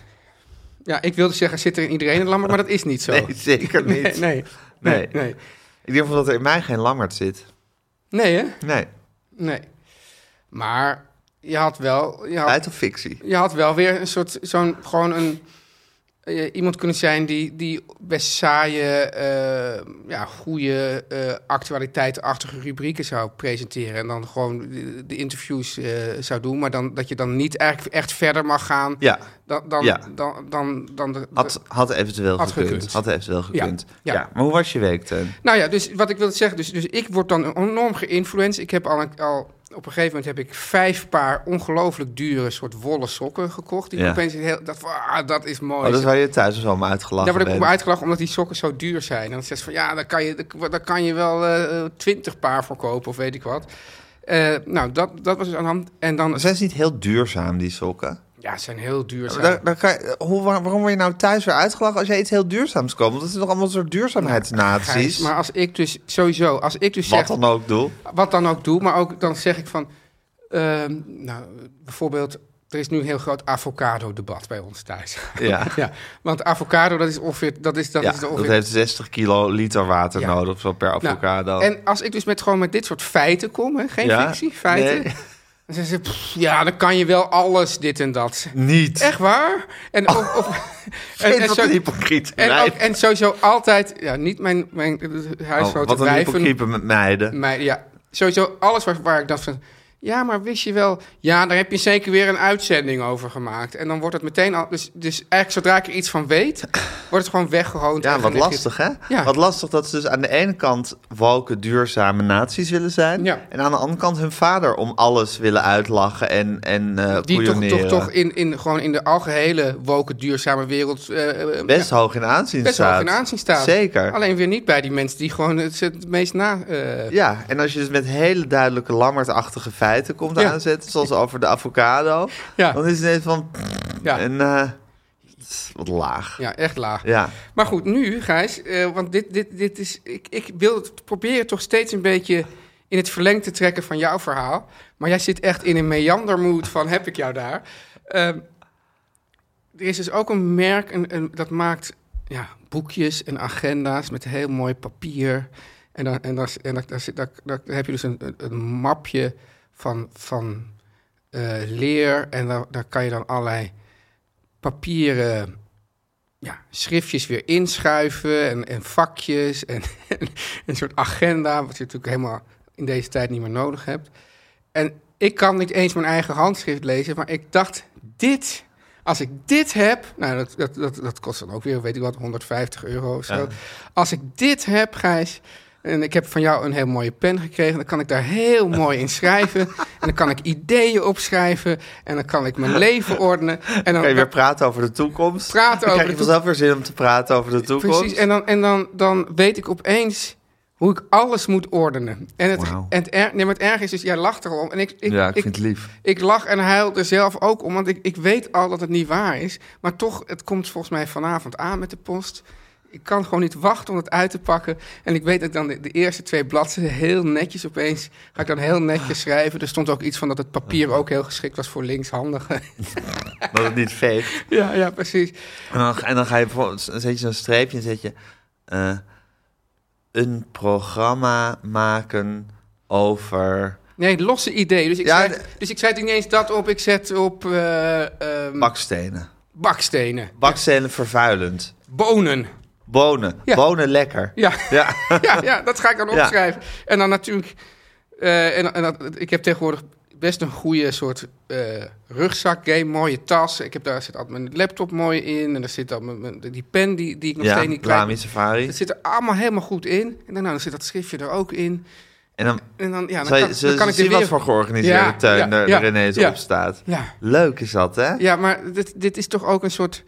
ja, ik wilde zeggen, zit er in iedereen een lammer, maar dat is niet zo.
Nee, zeker niet.
nee, nee,
Nee.
nee, nee.
Ik denk wel dat er in mij geen Lammert zit.
Nee, hè?
Nee.
Nee. Maar je had wel... Je had,
Uit of fictie?
je had wel weer een soort, zo'n, gewoon een, eh, iemand kunnen zijn die, die best saaie, eh, ja, goede eh actualiteitachtige rubrieken zou presenteren. En dan gewoon de, de interviews eh, zou doen, maar dan, dat je dan niet eigenlijk echt verder mag gaan
Ja.
dan, dan,
Ja.
dan, dan, dan de,
Had, had eventueel
Had
gekund.
gekund.
Had eventueel gekund.
ja.
Maar hoe was je week, Teun?
Nou ja, dus wat ik wilde zeggen, dus, dus ik word dan enorm geïnfluenced. Ik heb al, een- al op een gegeven moment heb ik vijf paar ongelooflijk dure soort wollen sokken gekocht. Die ik
Ja.
opeens heel, dat, ah, dat is mooi.
Oh, dat is waar je thuis dus allemaal uitgelachen
Daar word ik
bent.
op uitgelachen omdat die sokken zo duur zijn. En dan zegt ze van ja, daar kan je, daar kan je wel eh, twintig paar voor kopen of weet ik wat. Eh, nou, dat, dat was dus aan de hand. En dan,
Maar zijn ze niet heel duurzaam, die sokken?
ja, ze zijn heel duurzaam.
Daar, daar kan je- hoe, waar- waarom word je nou thuis weer uitgelachen als jij iets heel duurzaams koopt? Want dat is toch allemaal een soort duurzaamheidsnaties?
Gijs, maar als ik dus sowieso, als ik dus
Wat
zeg,
dan ook, doe.
wat dan ook doe, maar ook dan zeg ik van, ehm, nou, bijvoorbeeld, er is nu een heel groot avocado-debat bij ons thuis.
Ja.
ja, want avocado, dat is ongeveer, dat is, dat
ja,
is de
dat
ongeveer
heeft 60 kilo liter water
Ja.
nodig of zo per
Nou,
avocado.
En als ik dus met, gewoon met dit soort feiten kom, hè, geen
Ja?
fictie, feiten.
Nee.
Dan zeggen ze, "Pff, ja, dan kan je wel alles, dit en dat.
Niet.
Echt waar? En, ook- of-
Ik vind
zo-
Oh, wat een hypocriet.
en,
wijf.
ook- en sowieso altijd, ja, niet mijn, mijn eh,
Oh,
huisgrote
wat een
wijven.
hypocriet met meiden.
Maar ja, sowieso alles waar, waar ik dacht van... Ja, maar wist je wel... Ja, daar heb je zeker weer een uitzending over gemaakt. En dan wordt het meteen al... Dus, dus eigenlijk zodra ik er iets van weet, wordt het gewoon weggehoond.
Ja,
en
wat
dan heb je-
lastig, hè?
Ja.
Wat lastig dat ze dus aan de ene kant woke, duurzame naties willen zijn...
Ja.
en aan de andere kant hun vader om alles willen uitlachen en, en eh
Die toch, toch,
koeieneren.
toch in, in, gewoon in de algehele woke duurzame wereld... eh, eh,
Best hoog in aanzien
best
staat.
wel in aanzien staat.
Zeker.
Alleen weer niet bij die mensen die gewoon het, het meest na... eh,
Ja, en als je dus met hele duidelijke lammertachtige feiten komt
Ja.
aanzetten... zoals over de avocado,
Ja.
dan is het ineens van...
Ja.
En, eh, wat laag.
ja, echt laag.
Ja.
Maar goed, nu, Gijs, eh, want dit, dit, dit is. Ik, ik wil het proberen toch steeds een beetje in het verleng te trekken van jouw verhaal. Maar jij zit echt in een meandermoed van heb ik jou daar. Ehm, er is dus ook een merk een, een, dat maakt ja, boekjes en agenda's met heel mooi papier. En, dan, en, dan, en dan, dan, dan, dan heb je dus een, een, een mapje van, van eh, leer. En daar, daar kan je dan allerlei papieren ja, schriftjes weer inschuiven en, en vakjes en, en een soort agenda, wat je natuurlijk helemaal in deze tijd niet meer nodig hebt. En ik kan niet eens mijn eigen handschrift lezen, maar ik dacht, dit, als ik dit heb, nou dat, dat, dat, dat kost dan ook weer, weet ik wat, 150 euro of zo. Als ik dit heb, Gijs, en ik heb van jou een heel mooie pen gekregen, dan kan ik daar heel mooi in schrijven. en dan kan ik ideeën opschrijven en dan kan ik mijn leven ordenen. En dan
Kan je weer praten over de toekomst?
Praten
Dan
over de
krijg je
toekomst.
vanzelf weer zin om te praten over de toekomst.
Precies, en, dan, en dan, dan weet ik opeens hoe ik alles moet ordenen. En het,
Wauw.
en het, er, nee, maar het erg is dus, jij lacht erom. En ik, ik,
ja, ik,
ik,
vind het lief.
ik lach en huil er zelf ook om, want ik, ik weet al dat het niet waar is. Maar toch, het komt volgens mij vanavond aan met de post. Ik kan gewoon niet wachten om het uit te pakken. En ik weet dat ik dan de, de eerste twee bladzijden heel netjes opeens... ga ik dan heel netjes schrijven. Er stond ook iets van dat het papier ook heel geschikt was voor linkshandigen.
Dat het niet veegt.
ja, ja, precies.
En dan, en dan ga je bijvoorbeeld, dan zet je zo'n streepje en zet je... eh, een programma maken over...
Nee, losse idee. Dus ik,
Ja,
schrijf, dus ik schrijf niet eens dat op. Ik zet op eh, ehm,
Bakstenen.
bakstenen.
Bakstenen vervuilend.
Bonen.
Bonen.
Ja.
Bonen lekker.
Ja.
Ja.
ja, ja, dat ga ik dan
Ja.
opschrijven. En dan natuurlijk... eh, en, en dat, ik heb tegenwoordig best een goede soort eh rugzak game. Mooie tas. Ik heb, daar zit altijd mijn laptop mooi in. En daar zit dan mijn, mijn- die pen die, die ik nog
Ja,
steeds niet
Lami
kwijt...
Safari.
Dat zit er allemaal helemaal goed in. En dan, nou, dan zit dat schriftje er ook in.
En dan,
En dan, ja, dan
zal je,
kan,
ze-
dan kan
ze
ik
zien
er weer...
wat voor georganiseerde
Ja,
tuin
ja,
er,
ja,
er ineens
ja.
op staat.
Ja,
Leuk is dat, hè?
ja, maar dit, dit is toch ook een soort...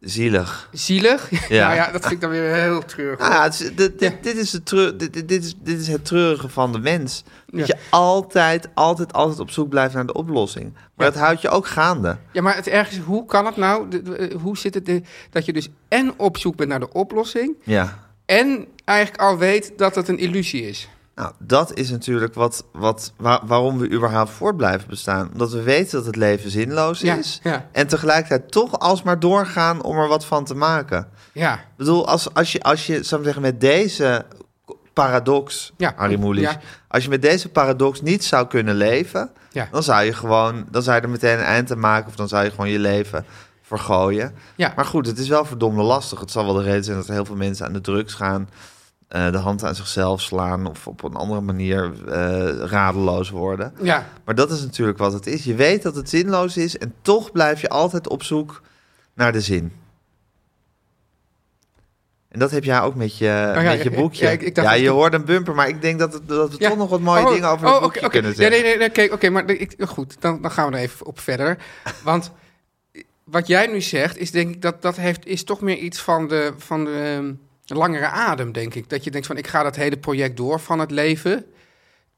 Zielig.
zielig.
Ja.
nou ja, dat vind ik dan weer heel treurig.
Ah, ja, het is- dit, dit,
Ja.
dit is de treur- dit, dit, dit is, dit is het treurige van de mens. Dat
Ja.
je altijd, altijd, altijd op zoek blijft naar de oplossing. Maar
Ja.
dat houdt je ook gaande.
Ja, maar het erg is, hoe kan het nou? De- de- eh, hoe zit het de- dat je dus en op zoek bent naar de oplossing...
Ja.
en eigenlijk al weet dat het een illusie is?
Nou, dat is natuurlijk wat, wat, waar- waarom we überhaupt voort blijven bestaan. Omdat we weten dat het leven zinloos
Ja,
is.
ja.
En tegelijkertijd toch alsmaar doorgaan om er wat van te maken.
Ja,
Ik bedoel, als, als je, als je zou ik zeggen, met deze paradox,
Ja,
Harry Mulisch,
ja.
als je met deze paradox niet zou kunnen leven,
Ja.
dan zou je gewoon, dan zou je er meteen een eind aan maken of dan zou je gewoon je leven vergooien.
ja.
Maar goed, het is wel verdomde lastig. Het zal wel de reden zijn dat heel veel mensen aan de drugs gaan, eh, de hand aan zichzelf slaan of op een andere manier eh, radeloos worden.
ja.
Maar dat is natuurlijk wat het is. Je weet dat het zinloos is en toch blijf je altijd op zoek naar de zin. En dat heb jij ook met je,
Oh ja,
met je
ja,
boekje.
ja,
Ja,
ik- ik dacht dat
je
ik-
hoort een bumper, maar ik denk dat, het, dat we toch nog wat mooie
Oh,
dingen over het
oh, oké,
boekje
oké.
kunnen zeggen.
Ja, nee, nee, nee, oké, oké, maar ik, goed, dan, dan gaan we er even op verder. Want wat jij nu zegt, is denk ik dat dat heeft, is toch meer iets van de, van de ehm, langere adem, denk ik. Dat je denkt van, ik ga dat hele project door van het leven.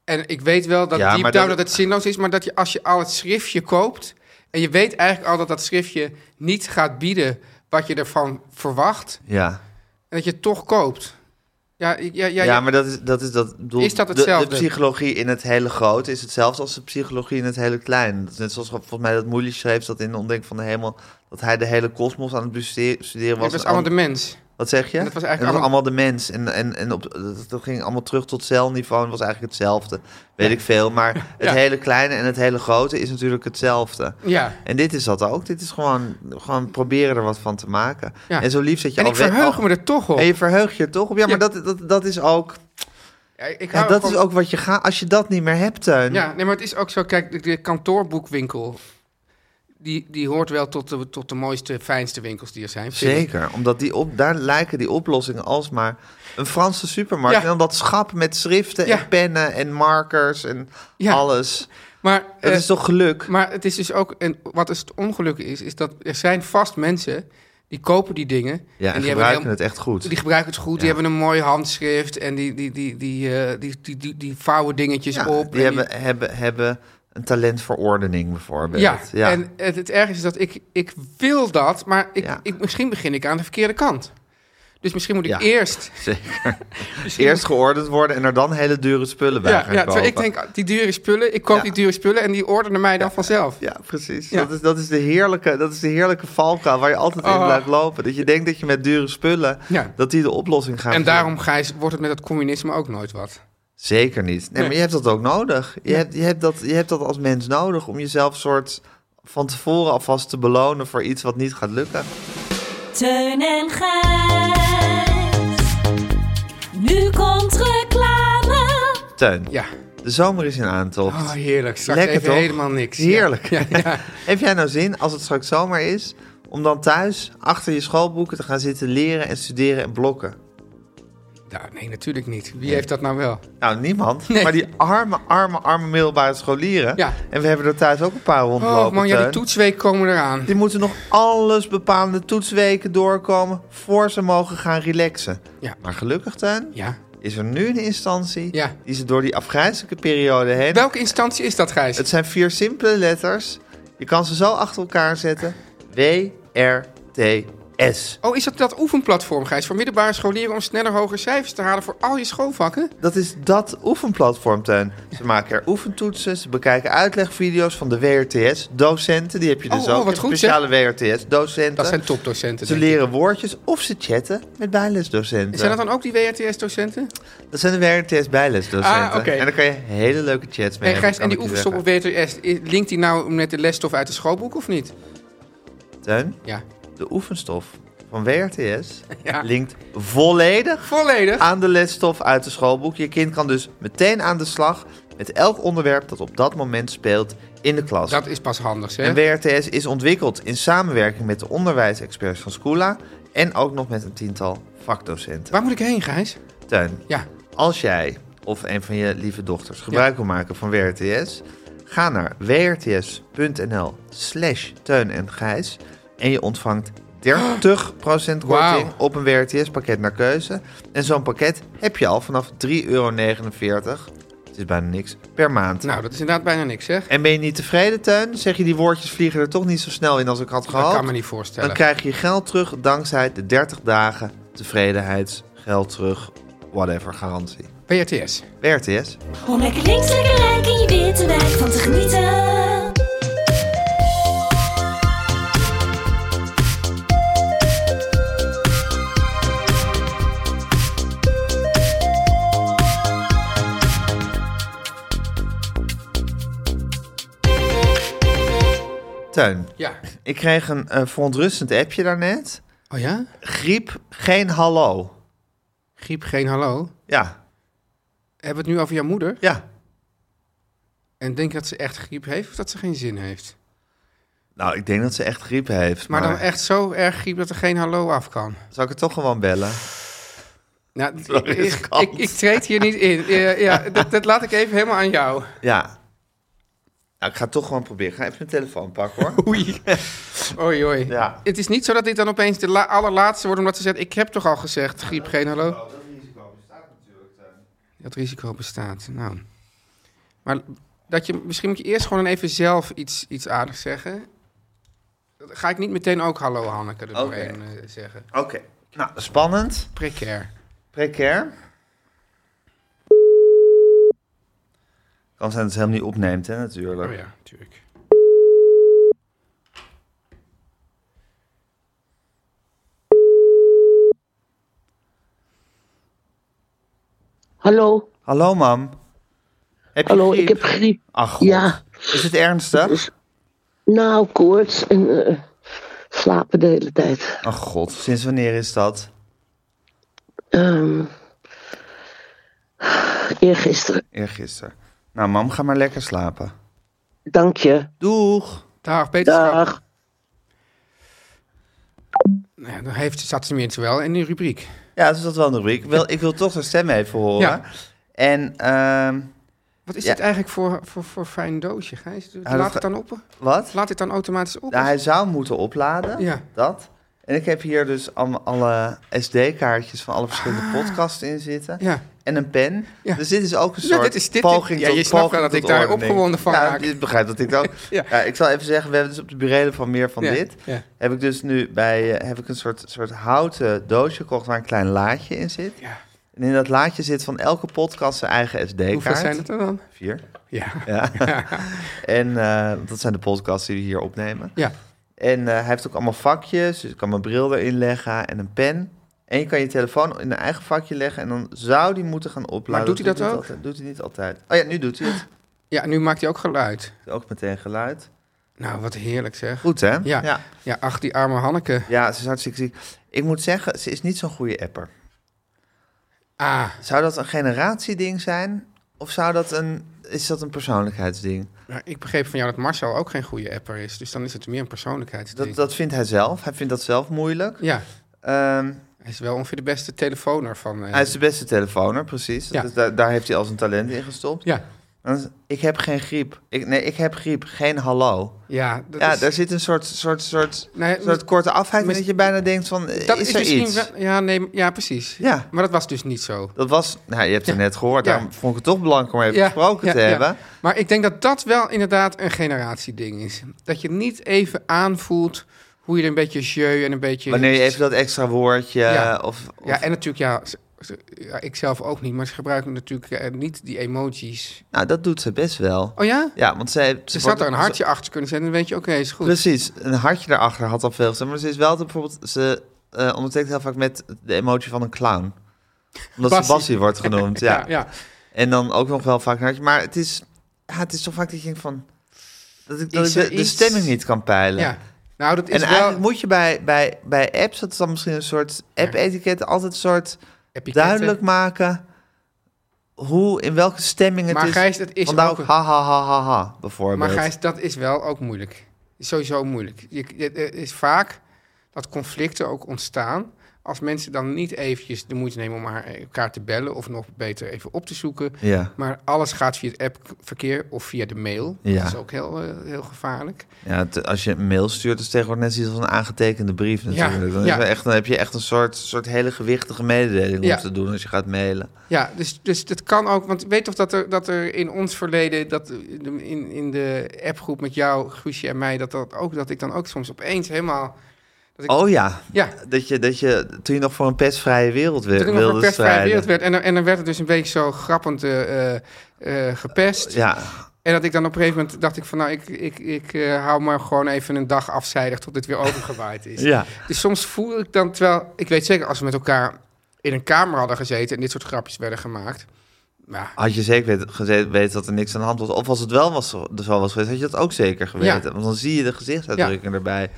En ik weet wel dat
Ja,
diep
maar
down dat
dat-
het zinloos is, maar dat je als je al het schriftje koopt... en je weet eigenlijk al dat dat schriftje niet gaat bieden wat je ervan verwacht...
Ja.
en dat je het toch koopt. Ja, ja, ja,
Ja,
ja,
maar dat is dat. Is, dat, ik bedoel,
Is dat
de-
hetzelfde?
De, psychologie in het hele grote is hetzelfde als de psychologie in het hele klein. Dat is net zoals volgens mij dat Moelis schreef dat in de ontdekking van de hemel. dat hij de hele kosmos aan het bestude- studeren was.
dat is
en al-
allemaal de mens.
Wat zeg je?
En dat was eigenlijk
En allemaal... de mens. En, en, en op, dat- dat ging allemaal terug tot celniveau en was eigenlijk hetzelfde. Weet ik veel. Maar het
Ja. Mm.
hele kleine en het hele grote is natuurlijk hetzelfde.
Ja.
En dit is dat ook. Dit is gewoon, gewoon proberen er wat van te maken.
Ja.
En zo lief dat je
En
al oh.
ik
weet-
verheug
al-
me er toch op.
En je verheugt je er toch op. Ja,
Ja.
maar Dat, dat, dat is ook...
Ja, eh, ik
Ja,
hou
dat
van-
is ook wat je gaat. Als je dat niet meer hebt, Teun.
Ja, nee, maar het is ook zo. Kijk, de, de kantoorboekwinkel. Die, die hoort wel tot de, tot de mooiste, fijnste winkels die er zijn. vind ik.
Zeker, omdat die op, daar lijken die oplossingen alsmaar een Franse supermarkt.
Ja.
En dan dat schap met schriften
Ja.
en pennen en markers en
Ja.
alles.
Maar,
Dat
eh,
is toch geluk?
maar het is dus ook. En wat is het ongeluk is, is dat er zijn vast mensen die kopen die dingen.
Ja, en,
die hebben
gebruiken
heel-
het echt goed.
Die gebruiken het goed, die hebben een mooi handschrift en die, die, die, die, eh, die, die, die, die vouwen dingetjes
Ja,
op.
die
en
hebben, hebben, hebben een talent voor ordening bijvoorbeeld.
Ja,
Ja,
en het, het ergste is dat ik, ik wil dat, maar ik,
Ja.
ik, misschien begin ik aan de verkeerde kant. Dus misschien moet ik
Ja.
eerst...
zeker. Eerst geordend worden en er dan hele dure spullen bij
Ja,
gaan
ja,
kopen.
terwijl ik denk, ah, die dure spullen, ik koop
Ja.
die dure spullen en die ordenen mij dan vanzelf.
Ja, precies.
Ja.
Dat, is, dat, is de heerlijke, dat is de heerlijke valkuil waar je altijd in
Oh.
blijft lopen. Dat je denkt dat je met dure spullen,
Ja.
dat die de oplossing gaan
En
vinden.
daarom, Gijs, wordt het met dat communisme ook nooit wat.
Zeker niet. Nee, maar je hebt dat ook nodig. Je, hebt, je, hebt dat, je hebt dat als mens nodig om jezelf soort van tevoren alvast te belonen voor iets wat niet gaat lukken.
Teun en Gijs. Nu komt reclame.
Teun,
Ja.
de zomer is in aantocht.
Oh, heerlijk. Straks
Lekker
even
toch?
helemaal niks. Ja.
Heerlijk.
Ja, ja.
Heb jij nou zin, als het straks zomer is, om dan thuis achter je schoolboeken te gaan zitten leren en studeren en blokken?
Nou, nee, natuurlijk niet. Wie heeft dat nou wel?
Nou, niemand.
Nee.
Maar die arme, arme, arme middelbare scholieren.
Ja.
En we hebben er thuis ook een paar rondlopen.
Oh man, ja, die
Teun.
toetsweek komen eraan.
Die moeten nog alles bepaalde toetsweken doorkomen voor ze mogen gaan relaxen.
Ja.
Maar gelukkig, Tuin,
Ja.
is er nu een instantie
Ja.
die ze door die afgrijzelijke periode heen...
Welke instantie is dat, Gijs?
Het zijn vier simpele letters. Je kan ze zo achter elkaar zetten. W-R-T-S.
Oh, is dat dat oefenplatform, Gijs, voor middelbare scholieren om sneller hogere cijfers te halen voor al je schoolvakken?
Dat is dat oefenplatform, Tuin. Ze maken er oefentoetsen, ze bekijken uitlegvideo's van de WRTS-docenten. Die heb je dus
Oh, oh,
ook,
wat
hè,
goed,
speciale WRTS-docenten.
Dat zijn topdocenten.
Ze
denk ik.
leren woordjes of ze chatten met bijlesdocenten.
Zijn dat dan ook die WRTS-docenten?
Dat zijn de WRTS-bijlesdocenten.
Ah, oké.
En daar kan je hele leuke chats mee
En
hebben.
Gijs, en die oefenstop op
oefenstoppen.
WRTS, i- linkt die nou met de lesstof uit het schoolboek of niet?
Teun,
Ja.
de oefenstof van WRTS
Ja.
linkt volledig
Volledig.
aan de lesstof uit de schoolboek. Je kind kan dus meteen aan de slag met elk onderwerp dat op dat moment speelt in de klas.
Dat is pas handig,
En
hè?
WRTS is ontwikkeld in samenwerking met de onderwijsexperts van Schoola en ook nog met een tiental vakdocenten.
Waar moet ik heen, Gijs?
Teun,
Ja.
Als jij of een van je lieve dochters gebruik wil maken van WRTS, ga naar wrts.nl slash teun en gijs en je ontvangt 30% korting
Wauw.
op een WRTS pakket naar keuze. En zo'n pakket heb je al vanaf 3,49 euro. Het is bijna niks per maand.
Nou, dat is inderdaad bijna niks, zeg.
En ben je niet tevreden, Teun? Zeg je die woordjes vliegen er toch niet zo snel in als ik had gehoopt?
Dat kan me niet voorstellen.
Dan krijg je je geld terug dankzij de 30 dagen tevredenheids, geld terug, whatever garantie.
WRTS.
WRTS.
Om lekker links, lekker rijk in je witte wijk van te genieten.
Teun,
Ja.
ik kreeg een eh, verontrustend appje daarnet.
Oh ja?
Griep, geen hallo.
Griep, geen hallo.
Ja,
Hebben we het nu over jouw moeder?
ja.
En denk je dat ze echt griep heeft of dat ze geen zin heeft?
Nou, ik denk dat ze echt griep heeft.
Maar
Maar,
dan echt zo erg griep dat er geen hallo af kan.
Zal ik het toch gewoon bellen?
Nou,
wel
ik, ik,
riskant.
ik, ik treed hier niet in. Eh, ja, dat, dat laat ik even helemaal aan jou.
Ja. Nou, ik ga het toch gewoon proberen. Ga even mijn telefoon pakken, hoor.
Oei. Oei, oei.
Ja.
Het is niet zo dat dit dan opeens de la- allerlaatste wordt omdat ze zegt... ik heb toch al gezegd, griep, geen hallo. Dat risico bestaat, nou. Maar dat je, misschien moet je eerst gewoon even zelf iets, iets aardigs zeggen. Dat ga ik niet meteen ook hallo Hanneke er
Oké.
doorheen eh, zeggen.
Oké. Nou, spannend.
Precair.
Precair. Kan zijn dat ze hem niet opneemt, hè, natuurlijk.
Oh ja, natuurlijk.
Hallo,
Hallo, mam. Heb je
hallo,
griep?
ik heb griep.
Ach, god.
Ja.
Is het ernstig?
Nou, koorts en eh, slapen de hele tijd.
Ach, god. Sinds wanneer is dat?
Ehm, Eergisteren.
Eergisteren. Nou, mam, ga maar lekker slapen.
Dank je.
Doeg!
Dag, beterschap.
Dag.
Nou ja, dan heeft, zat ze mensen wel in die rubriek.
Ja, dus dat is wel een rubriek. Ik wil, ik wil toch haar stem even horen.
Ja.
En, ehm,
Wat is
Ja.
dit eigenlijk voor, voor, voor fijn doosje, Gijs?
dat
Laat
ga-
het dan op.
wat?
Laat dit dan automatisch op.
Nou, hij zou moeten opladen.
Ja.
Dat. En ik heb hier dus allemaal alle SD-kaartjes van alle
Ah.
verschillende podcasts in zitten.
Ja.
En een pen.
Ja.
Dus dit is ook een
Ja,
soort
dit is- dit-
poging
ja,
tot-
je snapt wel
poging
dat ik
tot
daar
ordening.
opgewonden van
ja,
raak.
Je begrijpt dat ik dan...
Ja.
ja. ik zal even zeggen, we hebben dus op de burelen van meer van
Ja,
dit...
ja.
heb ik dus nu bij eh, heb ik een soort, soort houten doosje gekocht... waar een klein laadje in zit.
Ja.
En in dat laadje zit van elke podcast zijn eigen SD-kaart.
Hoeveel zijn het er dan?
Vier.
Ja.
Ja. en eh, dat zijn de podcasts die we hier opnemen.
Ja.
En eh, hij heeft ook allemaal vakjes. Dus ik kan mijn bril erin leggen en een pen. En je kan je telefoon in een eigen vakje leggen. En dan zou die moeten gaan opladen.
Maar doet hij dat
niet
ook?
altijd- doet hij niet altijd. Oh ja, nu doet hij het.
Ja, nu maakt hij ook geluid.
Ook meteen geluid.
Nou, wat heerlijk zeg.
Goed, hè?
Ja.
ja.
Ja, ach, die arme Hanneke.
Ja, ze is hartstikke ziek. Ik moet zeggen, ze is niet zo'n goede apper.
Ah,
Zou dat een generatieding zijn? Of zou dat een, is dat een persoonlijkheidsding?
maar nou, ik begreep van jou dat Marcel ook geen goede apper is. Dus dan is het meer een persoonlijkheidsding.
Dat, dat vindt hij zelf. Hij vindt dat zelf moeilijk.
Ja,
Ehm,
hij is wel ongeveer de beste telefoner van... eh,
Hij is de beste telefoner, precies.
Ja.
Dus daar, daar heeft hij al zijn talent in gestopt.
Ja,
Dan is- Ik heb geen griep. Ik, nee, ik heb griep. Geen hallo.
ja, dat
ja,
is,
daar zit een soort, soort, soort,
Nee,
soort korte afheid in
mis-
dat je bijna denkt van, eh,
dat dus
is, er iets?
wel- ja, nee, ja, precies.
Ja.
Maar dat was dus niet zo.
Dat was, nou, je hebt het net gehoord.
Ja.
Daarom vond ik het toch belangrijk om even
ja,
gesproken
ja,
te
ja.
hebben.
Maar ik denk dat dat wel inderdaad een generatieding is. Dat je niet even aanvoelt hoe je er een beetje jeu en een beetje...
Wanneer je even dat extra woordje
Ja.
of... of
Ja, en natuurlijk, ja, ze- ze- ja, ik zelf ook niet. Maar ze gebruiken natuurlijk eh, niet die emojis.
Nou, dat doet ze best wel.
Oh ja?
Ja, want zij...
Ze
wordt-
zat er een hartje achter kunnen zetten. Dan weet je, oké, is goed.
Precies, een hartje daarachter had al veel gezegd. Maar ze is wel dat bijvoorbeeld, ze eh, ondertekent heel vaak met de emotie van een clown. Omdat
Bassie.
ze Bassie wordt genoemd, ja.
ja, ja.
En dan ook nog wel vaak een hartje. Maar het is, ja, het is toch vaak dat je denkt van, dat ik, dat
Is
ik
er
de, de
iets?
stemming niet kan peilen.
ja. Nou, dat
En
is
eigenlijk
wel...
moet je bij, bij, bij apps, dat is dan misschien een soort app-etiket, altijd een soort
Epiketten.
duidelijk maken hoe, in welke stemming het
Maar
is.
Gijs, dat is
Vandaar
ook
ook
een-
ha ha ha ha ha, bijvoorbeeld.
Maar Gijs, dat is wel ook moeilijk. Is sowieso moeilijk. Je, je- het is vaak dat conflicten ook ontstaan... als mensen dan niet eventjes de moeite nemen om haar- eh, elkaar te bellen... of nog beter even op te zoeken.
Ja,
Maar alles gaat via het appverkeer of via de mail.
Ja.
Dat is ook heel, eh, heel gevaarlijk.
ja het- als je een mail stuurt, is het tegenwoordig net zoiets als een aangetekende brief natuurlijk. dan, is
ja.
er echt, dan heb je echt een soort, soort hele gewichtige mededeling
Ja.
om te doen als je gaat mailen.
Ja, dus, dus dat kan ook. Want weet toch dat er, dat er in ons verleden, dat de- in, in de appgroep met jou, Guusje en mij, dat, dat, ook, dat ik dan ook soms opeens helemaal. Ik-
Oh ja,
Ja,
dat je, dat je toen je nog voor een pestvrije wereld wer-
dat ik nog
wilde
een pestvrije
strijden.
wereld werd. En, dan- en dan werd het dus een beetje zo grappend eh, eh, eh, gepest.
Ja,
En dat ik dan op een gegeven moment dacht ik van nou, ik, ik, ik eh, hou maar gewoon even een dag afzijdig tot dit weer overgewaaid is.
ja.
Dus soms voel ik dan, terwijl ik weet zeker als we met elkaar in een kamer hadden gezeten en dit soort grapjes werden gemaakt. Nou,
Had je zeker weten, gezeten, weten dat er niks aan de hand was. Of als het wel was, zo zo was geweest, had je dat ook zeker geweten.
Ja.
Want dan zie je de gezichtsuitdrukking erbij.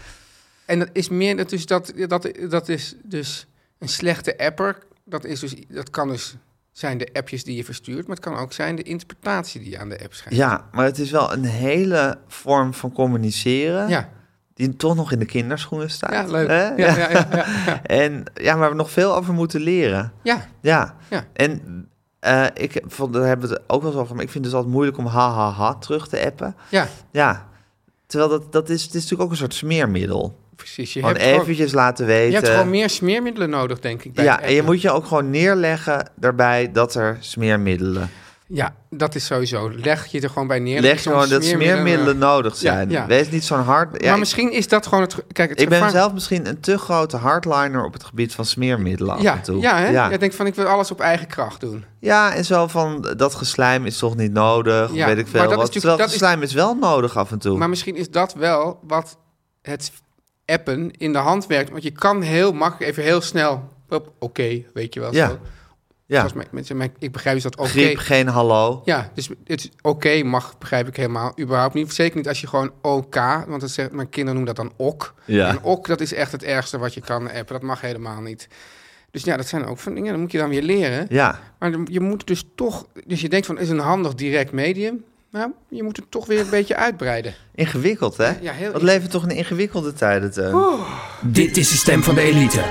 En dat is meer dat dus dat, dat, dat is dus een slechte apper. Dat, is dus, dat kan dus zijn de appjes die je verstuurt, maar het kan ook zijn de interpretatie die je aan de app schrijft.
Ja, maar het is wel een hele vorm van communiceren...
ja.
die toch nog in de kinderschoenen staat.
Ja, leuk.
Hè?
Ja, ja, ja, ja.
En ja, waar we nog veel over moeten leren.
Ja,
Ja.
Ja.
En eh, ik vond, daar hebben we het ook wel eens over, maar ik vind het dus altijd moeilijk om ha ha ha terug te appen.
ja,
Ja. Terwijl dat, dat is, het is natuurlijk ook een soort smeermiddel.
precies. Je
Gewoon
hebt, gewoon,
eventjes laten weten.
je hebt gewoon meer smeermiddelen nodig, denk ik. bij
ja,
het
en je
appen.
moet je ook gewoon neerleggen daarbij dat er smeermiddelen.
ja, dat is sowieso. Leg je er gewoon bij neer.
Leg gewoon
soms
dat smeermiddelen nodig
Ja,
zijn.
ja.
Wees niet zo'n hard. Ja,
maar
ik-
misschien is dat gewoon het. Kijk, het
ik ben
gevaar-
zelf misschien een te grote hardliner op het gebied van smeermiddelen af
Ja,
en toe.
ja, hè?
Ja.
Je denkt van ik wil alles op eigen kracht doen.
Ja, en zo van dat geslijm is toch niet nodig,
Ja,
of weet ik veel.
maar dat is
wat.
natuurlijk-
Terwijl
dat is-
geslijm is wel nodig af en toe.
Maar misschien is dat wel wat het appen in de hand werkt. Want je kan heel makkelijk, even heel snel, hop, oké, weet je wel.
Ja,
zo.
ja.
Zoals mijn- mensen, mijn- ik begrijp dus dat oké.
Griep, geen hallo.
Ja, dus het is oké mag, begrijp ik helemaal, überhaupt niet. Zeker niet als je gewoon OK, want dat zegt, mijn kinderen noemen dat dan ok.
Ja.
En ok, dat is echt het ergste wat je kan appen. Dat mag helemaal niet. Dus ja, dat zijn ook van dingen, dat moet je dan weer leren.
Ja,
Maar dan- je moet dus toch... Dus je denkt van, is een handig direct medium? Nou, je moet het toch weer een beetje uitbreiden.
ingewikkeld hè?
Ja, heel
Wat
ingewikkeld.
leven we toch in ingewikkelde tijden, Teun?
Dit is de stem van de elite.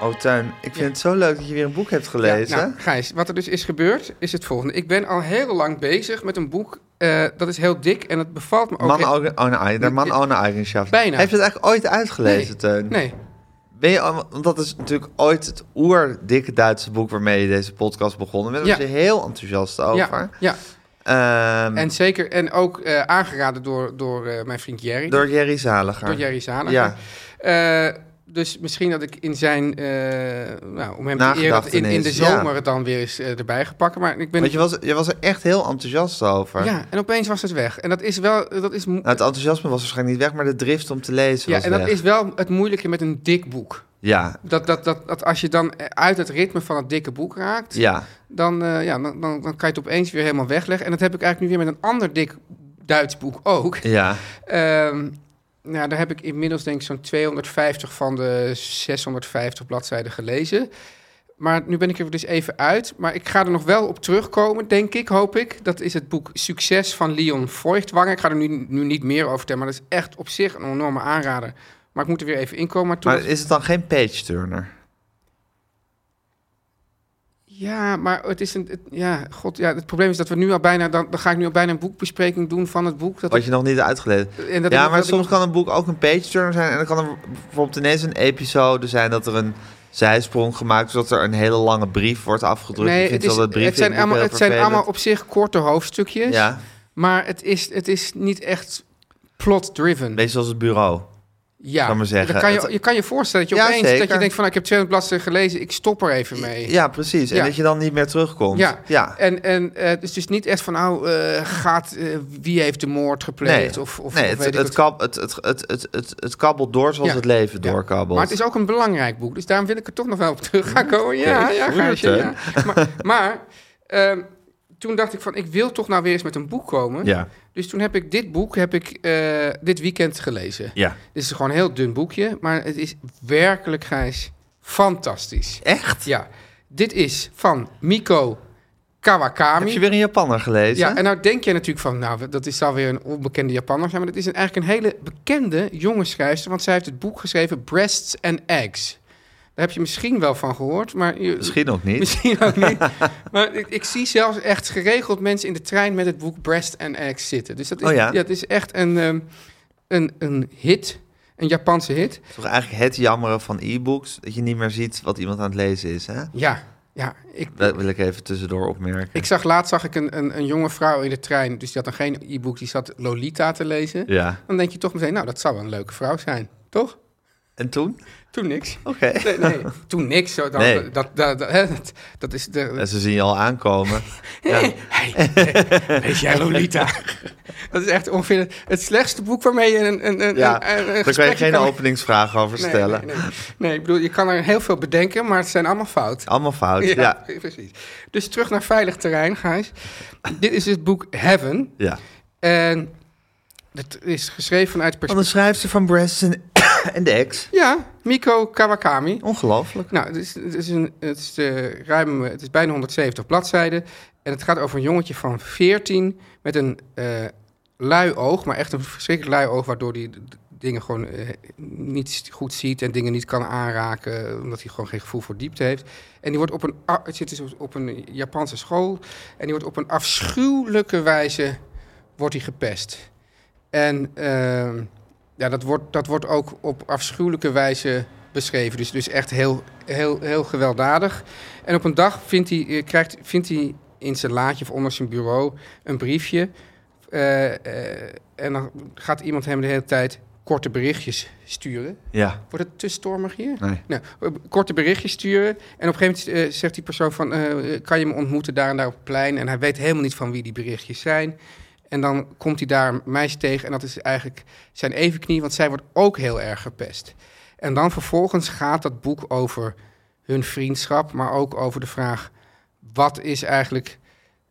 Oh, Teun, ik vind het zo leuk dat je weer een boek hebt gelezen.
Ja, nou, Gijs, wat er dus is gebeurd, is het volgende. Ik ben al heel lang bezig met een boek. eh, dat is heel dik en het bevalt me ook...
Man oh,
heel-
ohne, Eigen- der man
Ja.
ohne eigenschaft.
Bijna.
Heb je het eigenlijk ooit uitgelezen,
Nee.
Teun?
Nee,
Ben je, al- want dat is natuurlijk ooit het oerdikke Duitse boek waarmee je deze podcast begonnen bent. Daar
Ja.
was je heel enthousiast
ja,
over.
ja.
Ehm,
En zeker, en ook eh, aangeraden door, door eh, mijn vriend Jerry.
door Jerry Zaliger.
Door Jerry Zaliger.
Ja.
Eh, dus misschien dat ik in zijn, eh, nou, om hem te eren, dat in, in de
Nagedachtenis, ja.
zomer het dan weer eens eh, erbij gepakt. Maar ik ben...
Want je was, je was er echt heel enthousiast over.
ja, en opeens was het weg. En dat is wel, dat is, mo-
Nou, het enthousiasme was waarschijnlijk niet weg, maar de drift om te lezen
ja,
was
en dat
weg.
is wel het moeilijke met een dik boek.
Ja,
Dat, dat, dat, dat als je dan eh, uit het ritme van het dikke boek raakt,
ja.
dan, eh, ja, dan, dan, dan kan je het opeens weer helemaal wegleggen. En dat heb ik eigenlijk nu weer met een ander dik Duits boek ook.
Ja,
Ehm, nou, daar heb ik inmiddels denk ik zo'n 250 van de 650 bladzijden gelezen. Maar nu ben ik er dus even uit. Maar ik ga er nog wel op terugkomen, denk ik, hoop ik. Dat is het boek Succes van Leon Voigtwanger. Ik ga er nu, nu niet meer over vertellen, maar dat is echt op zich een enorme aanrader. Maar ik moet er weer even inkomen. Maar toen
maar is het dan geen page-turner?
Ja, maar het is een... het- ja, god, ja, het probleem is dat we nu al bijna... Dan, dan ga ik nu al bijna een boekbespreking doen van het boek. Dat
Wat je nog niet hebt uitgelezen.
ik- en dat ik-
Ja, maar
dat ik-
soms kan een boek ook een page-turner zijn. En dan kan er bijvoorbeeld ineens een episode zijn dat er een zijsprong gemaakt is, zodat er een hele lange brief wordt afgedrukt.
Nee,
ik vind
het, is,
dat brief
het, zijn, allemaal, het zijn allemaal op zich korte hoofdstukjes.
Ja,
Maar het is, het is niet echt plot-driven.
beetje zoals het bureau.
ja,
kan maar zeggen.
Dan kan je,
Het-
je kan je voorstellen dat je
Ja,
opeens... dat je
zeker.
denkt van, nou, ik heb 200 bladzijden gelezen, ik stop er even mee.
Ja, precies.
Ja.
En dat je dan niet meer terugkomt.
Ja.
ja.
En, en eh, het is dus niet echt van, nou, eh, gaat, eh, wie heeft de moord gepleegd? Of, of,
nee
of
het,
weet ik
het,
wat.
kab, het, het, het, het, het, het kabbelt door zoals
Ja.
het leven
Ja.
doorkabbelt.
Maar het is ook een belangrijk boek, dus daarom wil ik er toch nog wel op terug gaan komen. Ja,
Oké,
ja,
goed,
Gijsje,
hè?
ja. Maar, maar ehm, toen dacht ik van, ik wil toch nou weer eens met een boek komen.
Ja,
Dus toen heb ik dit boek heb ik, eh, dit weekend gelezen.
ja.
Dit is gewoon een heel dun boekje, maar het is werkelijk, Gijs, fantastisch.
Echt?
Ja, dit is van Miko Kawakami.
Heb je weer een Japanner gelezen?
Ja, en nou denk je natuurlijk van, nou, dat is alweer een onbekende Japanner zijn, maar dat is een, eigenlijk een hele bekende jonge schrijfster, want zij heeft het boek geschreven Breasts and Eggs. Daar heb je misschien wel van gehoord, maar je,
Misschien nog niet.
misschien ook niet. maar ik, ik zie zelfs echt geregeld mensen in de trein met het boek Breast and Eggs zitten. Dus dat is,
Oh ja?
het is echt een, ehm, een, een hit, een Japanse hit.
Toch eigenlijk het jammeren van e-books, dat je niet meer ziet wat iemand aan het lezen is, hè?
Ja, ja, ik,
Dat wil ik even tussendoor opmerken.
ik zag laatst zag ik een, een, een jonge vrouw in de trein, dus die had dan geen e-book, die zat Lolita te lezen.
Ja.
Dan denk je toch meteen, nou, dat zou wel een leuke vrouw zijn, toch?
En toen?
Toen niks.
Oké.
Nee, nee toen niks. Zo, dan,
Nee.
dat, dat, dat, hè, dat, dat is de...
En ze zien je al aankomen. Ja.
Weet jij Lolita? dat is echt ongeveer het slechtste boek waarmee je een, een, een,
Ja,
een,
Daar
een
kan je
gesprekje
geen
kan-
openingsvraag over
eh, Nee,
stellen.
Nee, nee, Nee, ik bedoel, je kan er heel veel bedenken, maar het zijn allemaal fout.
Allemaal fout, ja. ja.
precies. Dus terug naar veilig terrein, Gijs. Dit is het boek Heaven. En het is geschreven vanuit het
Want
perspectief...
de schrijfster van Breasts en, en de Ex.
Ja, Miko Kawakami.
Ongelooflijk.
Nou, het is, het is, een, het is, eh, ruim, eh, het is bijna 170 bladzijden. En het gaat over een jongetje van 14 met een eh, lui oog, maar echt een verschrikkelijk lui oog, waardoor hij d- d- dingen gewoon eh, niet goed ziet en dingen niet kan aanraken, omdat hij gewoon geen gevoel voor diepte heeft. En die wordt op een, a- het zit dus op- op een Japanse school en die wordt op een afschuwelijke wijze wordt hij gepest. En ehm, ja, dat wordt, dat wordt ook op afschuwelijke wijze beschreven. Dus, dus echt heel, heel, heel gewelddadig. En op een dag vindt hij, eh, krijgt, vindt hij in zijn laadje of onder zijn bureau een briefje. Eh, eh, en dan gaat iemand hem de hele tijd korte berichtjes sturen.
Ja.
Wordt het te stormig hier?
Nee.
Nou, eh, korte berichtjes sturen. En op een gegeven moment eh, zegt die persoon van... eh, kan je me ontmoeten daar en daar op het plein? En hij weet helemaal niet van wie die berichtjes zijn. En dan komt hij daar een meisje tegen. En dat is eigenlijk zijn evenknie, want zij wordt ook heel erg gepest. En dan vervolgens gaat dat boek over hun vriendschap... maar ook over de vraag... wat is eigenlijk...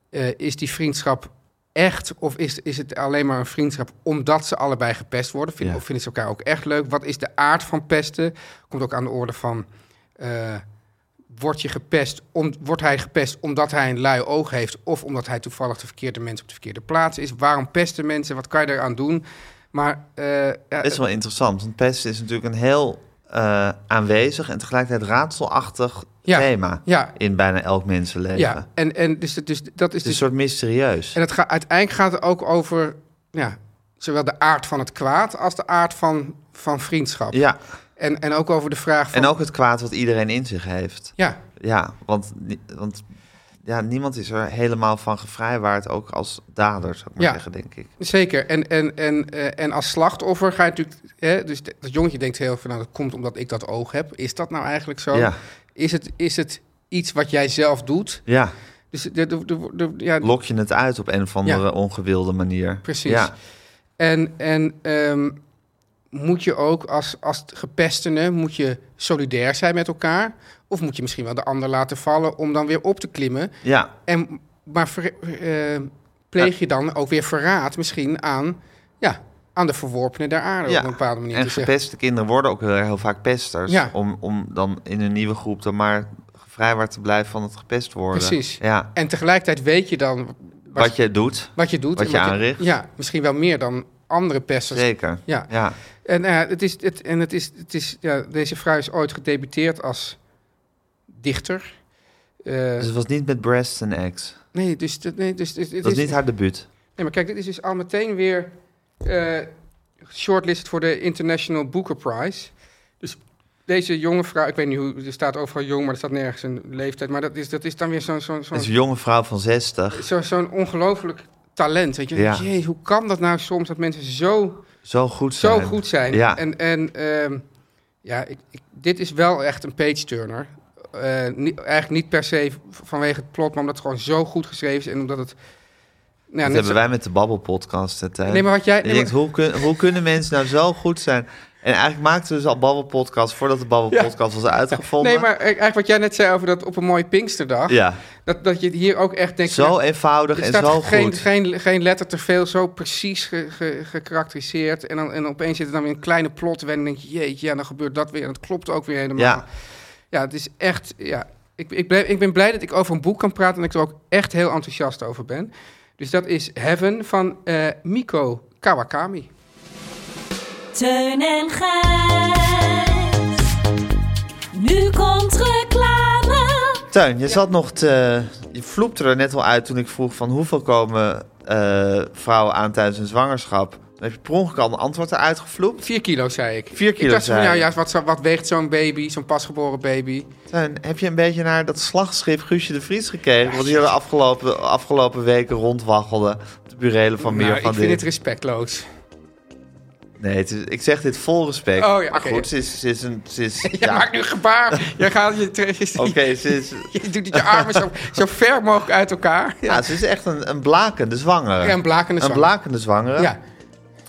eh, is die vriendschap echt of is, is het alleen maar een vriendschap... omdat ze allebei gepest worden? Vind,
Ja.
Of vinden ze elkaar ook echt leuk? Wat is de aard van pesten? Komt ook aan de orde van... eh, wordt, je gepest om, wordt hij gepest omdat hij een lui oog heeft... of omdat hij toevallig de verkeerde mensen op de verkeerde plaats is? Waarom pesten mensen? Wat kan je eraan doen? Maar eh, ja,
Best wel interessant, want pest is natuurlijk een heel eh, aanwezig en tegelijkertijd raadselachtig
Ja,
thema
ja.
in bijna elk mensenleven.
ja, en, en dus, dus
Het
dat is
is een
dus
soort mysterieus.
En het gaat uiteindelijk gaat het ook over ja, zowel de aard van het kwaad als de aard van, van vriendschap.
Ja,
En, en ook over de vraag van.
en ook het kwaad wat iedereen in zich heeft.
Ja,
Ja, want, ni- want ja, niemand is er helemaal van gevrijwaard, ook als dader, zou ik maar
Ja.
zeggen, denk ik.
zeker. En, en, en, eh, en als slachtoffer ga je natuurlijk. Hè, dus de- dat jongetje denkt heel veel, nou, dat komt omdat ik dat oog heb. Is dat nou eigenlijk zo?
Ja.
Is, het, is het iets wat jij zelf doet?
Ja,
Dus de, de, de, de- ja,
lok je het uit op een of andere
Ja.
ongewilde manier.
Precies.
Ja,
En, en ehm, moet je ook als, als gepestene, moet je solidair zijn met elkaar? Of moet je misschien wel de ander laten vallen om dan weer op te klimmen?
ja.
En, maar ver- eh, pleeg je dan ook weer verraad misschien aan, ja, aan de verworpenen der aarde op een bepaalde manier Dus
En
te zeggen?
gepeste kinderen worden ook heel, heel vaak pesters.
Ja.
Om, om dan in een nieuwe groep dan maar vrijwaar te blijven van het gepest worden.
Precies.
Ja.
En tegelijkertijd weet je dan wat,
Wat je doet,
wat je doet.
wat
en
je aanricht.
ja, misschien wel meer dan andere pesters.
zeker.
Ja.
Ja.
En, nou ja, het is, het, en het is, het is, ja, deze vrouw is ooit gedebuteerd als dichter. Eh,
Dus het was niet met Breast and Eggs.
nee, dus, dat- nee, dus dit, dit
Het was
is,
niet haar debuut.
nee, maar kijk, dit is dus al meteen weer eh shortlist voor de International Booker Prize. Dus deze jonge vrouw, ik weet niet hoe, er staat overal jong, maar er staat nergens een leeftijd. Maar dat is, dat is dan weer zo'n zo'n
Het is
zo'n
een jonge vrouw van 60.
zo'n zo'n ongelooflijk talent. Weet je,
Ja.
Jee, hoe kan dat nou soms dat mensen zo
Zo goed
zo
zijn.
goed zijn.
Ja.
En, en ehm, ja, ik, ik- dit is wel echt een page-turner. Eh, niet- eigenlijk niet per se v- vanwege het plot, maar omdat het gewoon zo goed geschreven is en omdat het... Nou, ja,
Dat
net
hebben
zo-
wij met de Babbelpodcast. het, hè.
Nee, maar wat jij...
Je
nee,
denkt,
maar-
hoe, kun- hoe kunnen mensen nou zo goed zijn? En eigenlijk maakten we dus al Babbelpodcast voordat de Babbelpodcast was uitgevonden.
nee, maar eh, eigenlijk wat jij net zei over dat op een mooie Pinksterdag,
Ja,
dat, dat je hier ook echt denkt...
zo
nou,
eenvoudig
er
en
staat
zo
geen,
goed.
geen, geen letter te veel, zo precies ge, ge- gekarakteriseerd. En, dan, en opeens zit er dan weer een kleine plot en dan denk je, jeetje, ja, dan gebeurt dat weer. En dat klopt ook weer helemaal.
Ja,
Ja, het is echt. Ja, ik, ik, ben, ik ben blij dat ik over een boek kan praten en ik er ook echt heel enthousiast over ben. Dus dat is Heaven van eh, Miko Kawakami.
Teun en Gijs. Nu komt reclame.
Tuin, je zat nog te. Je vloepte er net al uit toen ik vroeg van hoeveel komen eh, vrouwen aan tijdens hun zwangerschap. Dan heb je per ongeluk al een antwoord eruit gevloept.
4 kilo, zei ik.
Vier kilo,
Ik dacht van,
zei
nou
je.
ja, wat, zou- wat weegt zo'n baby, zo'n pasgeboren baby?
Tuin, heb je een beetje naar dat slagschip Guusje de Vries gekeken? Wat hier de afgelopen, afgelopen weken rondwaggelde. De burelen van meer
nou,
van
ik vind
dit.
het respectloos.
Nee, het is- ik zeg dit vol respect.
Oh ja,
maar
oké.
goed, ze is, ze is een. Ze is,
Jij
ja.
maakt nu gebaar. Jij gaat je, tre- je,
Oké, ze, is,
je doet je armen zo, zo ver mogelijk uit elkaar.
ja, ze is echt een, een blakende zwangere.
Ja, een blakende
Een
zwangere.
blakende zwangere.
Ja,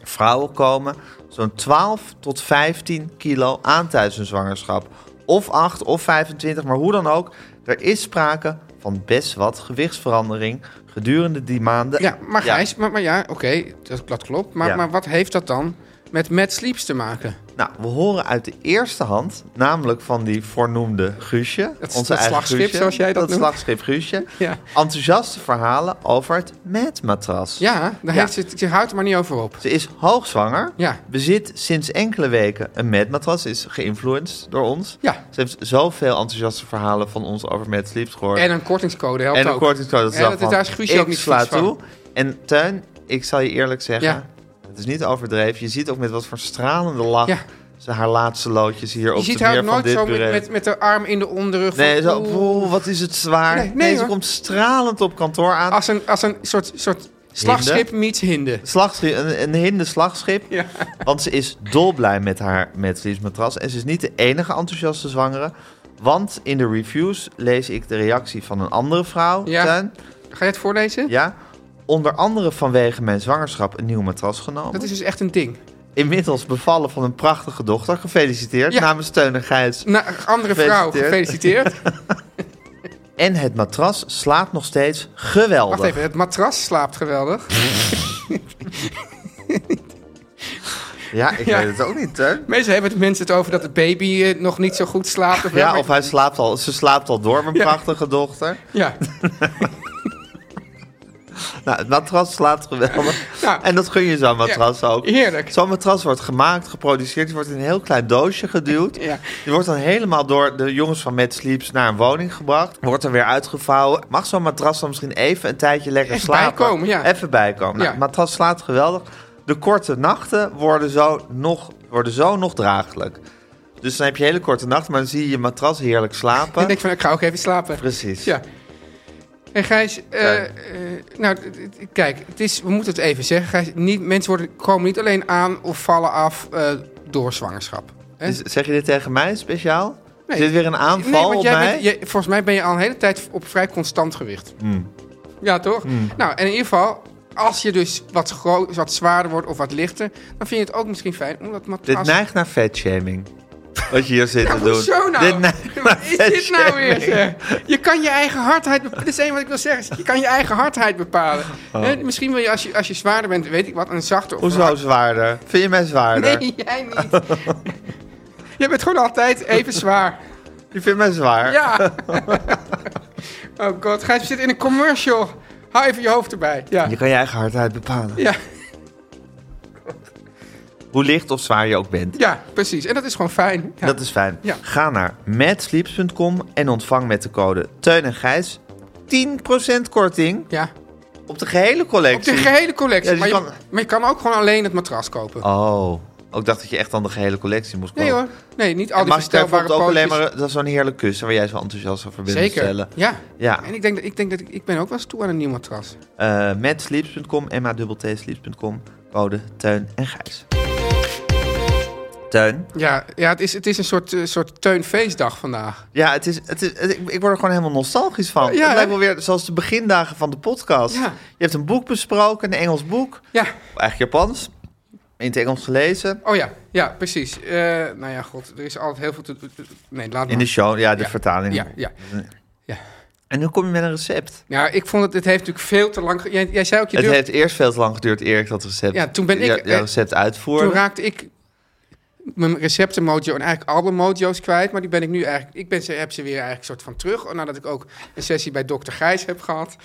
Vrouwen komen zo'n 12 tot 15 kilo aan tijdens hun zwangerschap. Of 8 of 25, maar hoe dan ook. Er is sprake van best wat gewichtsverandering gedurende die maanden.
ja maar
Ja.
Gijs, Maar, maar ja, oké, dat, dat klopt. Maar,
Ja.
maar wat heeft dat dan met Mad Sleeps te maken?
Nou, we horen uit de eerste hand, namelijk van die voornoemde Guusje.
Dat- dat slagschip,
Guusje,
zoals jij dat noemt.
slagschip Guusje.
Ja.
Enthousiaste verhalen over het matmatras.
Ja, daar
Ja.
Heeft ze, ze houdt er maar niet over op.
Ze is hoogzwanger.
Ja.
Bezit sinds enkele weken een medmatras. Is geïnfluenced door ons.
Ja.
Ze heeft zoveel enthousiaste verhalen van ons over Mad Sleeps gehoord.
En een kortingscode helpt
en een
ook.
kortingscode. Dat,
Ja, dat is- daar is Guusje
ik
ook niet
sla
vies van.
toe. En Tuin, ik zal je eerlijk zeggen.
Ja.
Het is niet overdreven. Je ziet ook met wat voor stralende lach
Ja.
ze haar laatste loodjes hier
Je
op
ziet
de meer
haar ook
van
nooit
dit
zo met,
bureau.
met, met de arm in de onderrug. van,
Nee, zo,
oeh.
oeh, wat is het zwaar.
Nee, nee,
ze
hoor.
komt stralend op kantoor aan.
Als een, als een soort, soort slagschip meets hinde.
Slagschip, een, een hinde slagschip.
Ja.
Want ze is dolblij met haar Matlies matras. En ze is niet de enige enthousiaste zwangere. Want in de reviews lees ik de reactie van een andere vrouw.
Ja.
Teun.
Ga je het voorlezen?
ja. Onder andere vanwege mijn zwangerschap een nieuw matras genomen.
Dat is dus echt een ding.
Inmiddels bevallen van een prachtige dochter. Gefeliciteerd
Ja.
namens Teun en Gijs.
Nou, andere vrouw,
Gefeliciteerd.
gefeliciteerd.
En het matras slaapt nog steeds geweldig.
Wacht even, het matras slaapt geweldig.
Ja, ik
Ja.
weet het ook niet, Teun.
Mensen hebben het mensen het over dat het baby eh, nog niet zo goed slaapt. Of,
Ja, of hij slaapt al, ze slaapt al door, mijn
Ja.
prachtige dochter.
Ja,
Nou, het matras slaapt geweldig.
Ja.
En dat gun je zo'n matras ook.
heerlijk.
Zo'n matras wordt gemaakt, geproduceerd, die wordt in een heel klein doosje geduwd.
Ja.
Die wordt dan helemaal door de jongens van Mad Sleeps naar een woning gebracht. Wordt er weer uitgevouwen. Mag zo'n matras dan misschien even een tijdje lekker
Even
slapen?
bijkomen, ja.
Even bijkomen. Nou,
Ja.
het matras slaapt geweldig. De korte nachten worden zo nog, worden zo nog draaglijk. Dus dan heb je hele korte nachten, maar dan zie je je matras heerlijk
Ik
slapen.
denk van, ik ga ook even slapen.
Precies.
Ja. En Gijs, eh,
Fijn.
eh, nou, d- d- kijk, het is, we moeten het even zeggen. Gijs, niet, mensen worden, komen niet alleen aan of vallen af eh, door zwangerschap. Hè?
Dus zeg je dit tegen mij speciaal?
Nee.
Is dit weer een
Nee,
aanval
want
op
jij
mij?
bent- jij- volgens mij ben je al een hele tijd op vrij constant gewicht.
Mm.
Ja, toch? Nou, en in ieder geval, als je dus wat, gro- wat zwaarder wordt of wat lichter... dan vind je het ook misschien fijn om dat
Dit
matras...
neigt naar fatshaming. Wat je hier zit te doen.
Hoezo nou?
Dit neigt naar
Wat is dit nou weer?
fatshaming.
zeg? Je kan je eigen hardheid bepalen. Dat is één wat ik wil zeggen. Je kan je eigen hardheid bepalen.
Oh.
Hè, Misschien wil je als, je als je zwaarder bent, weet ik wat, een zachter of een
Hoezo
hard-
zwaarder? Vind je mij zwaarder?
Nee, jij niet. je bent gewoon altijd even zwaar.
Je vindt mij zwaar?
Ja. oh god, Gijs, we zitten in een commercial. Hou even je hoofd erbij. Ja.
Je kan je eigen hardheid bepalen.
Ja,
Hoe licht of zwaar je ook bent.
ja, precies. En dat is gewoon fijn. Ja.
Dat is fijn.
Ja.
Ga naar madsleeps.com en ontvang met de code Teun en Gijs 10% korting
Ja.
op de gehele
Op de
collectie.
gehele collectie.
Ja, dus
maar,
je
je,
kan-
maar je kan ook gewoon alleen het matras kopen.
Oh, ook dacht dat je echt dan de gehele collectie moest kopen.
Nee hoor. Nee, niet al
En
die
mag ik
verstelbare
bijvoorbeeld ook alleen
pootjes.
maar dat is zo'n heerlijk kussen waar jij zo enthousiast over bent te
Zeker.
stellen.
Ja.
Ja.
En ik denk, dat- ik denk dat ik, ik ben ook wel eens toe aan een nieuw matras.
Eh, met sleeps.com, emma-sleeps.com, code Teun en Gijs. Teun?
Ja, ja het, is, het is een soort, eh, soort teunfeestdag vandaag.
Ja, het is, het is, het- ik ik word er gewoon helemaal nostalgisch van.
Ja,
het lijkt
hè?
wel weer zoals de begindagen van de podcast.
Ja.
Je hebt een boek besproken, een Engels boek.
Ja.
Eigenlijk Japans. In het Engels gelezen.
Oh ja, ja, precies. Eh, nou ja, god, er is altijd heel veel te... Nee, laat maar.
In de show, ja, de
Ja.
vertaling.
Ja, ja.
En nu kom je met een recept.
Ja, ik vond het, het heeft natuurlijk veel te lang... ge- Jij, jij zei ook, je
Het
durft-
heeft eerst veel te lang geduurd eer ik dat recept,
Ja, toen ben ik,
ja-
eh,
ja, recept uitvoerde.
toen raakte ik mijn receptenmojo en eigenlijk alle mojo's kwijt. Maar die ben ik nu eigenlijk... Ik ben ze, heb ze weer eigenlijk soort van terug. Nadat ik ook een sessie bij dokter Gijs heb gehad.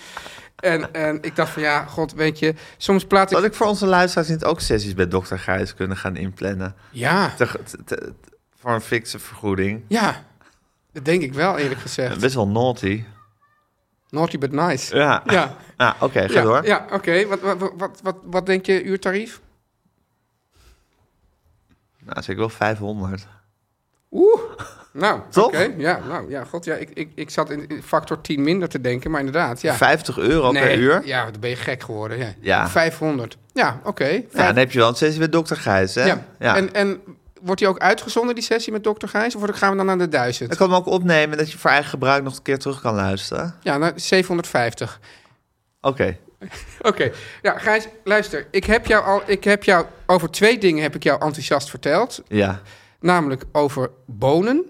En, en ik dacht van, ja, god, weet je... Soms plaat ik...
Zou ik voor onze luisteraars niet ook sessies bij dokter Gijs kunnen gaan inplannen?
Ja,
Te- te- te- voor een fikse vergoeding.
ja. Dat denk ik wel, eerlijk gezegd.
Best wel naughty.
Naughty but nice.
Ja.
Ja,
Ah, Oké, ga
ja,
door.
ja oké. Wat, wat, wat, wat, wat denk je uurtarief?
Nou, zeker wel 500.
Oeh, nou, oké.
Toch?
Ja, nou, ja, god, ja, ik, ik, ik zat in in factor 10 minder te denken, maar inderdaad, ja.
50 euro per uur. Ja.
Ja, dan ben je gek geworden. Ja.
Ja.
500. Ja, oké. Vijf-
dan heb je wel een sessie met dokter Gijs, hè?
ja. En, en wordt die ook uitgezonden, die sessie met dokter Gijs? Of wordt- gaan we dan naar de 1000?
Ik kan hem ook opnemen dat je voor eigen gebruik nog een keer terug kan luisteren.
Ja, naar 750.
Oké.
Oké. Ja, Gijs, luister. Ik heb jou al... Ik heb jou... Over twee dingen heb ik jou enthousiast verteld.
Ja.
Namelijk over bonen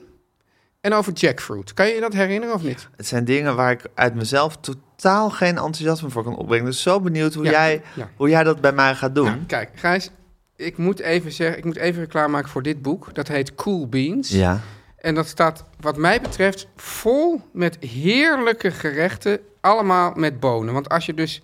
en over jackfruit. Kan je je dat herinneren of niet?
Het zijn dingen waar ik uit mezelf totaal geen enthousiasme voor kan opbrengen. Dus zo benieuwd hoe,
Ja,
jij,
ja.
hoe jij dat bij mij gaat doen.
Nou, kijk, Gijs, ik moet even zeggen, ik moet even reclame maken voor dit boek. Dat heet Cool Beans.
Ja.
En dat staat, wat mij betreft, vol met heerlijke gerechten. Allemaal met bonen. Want als je dus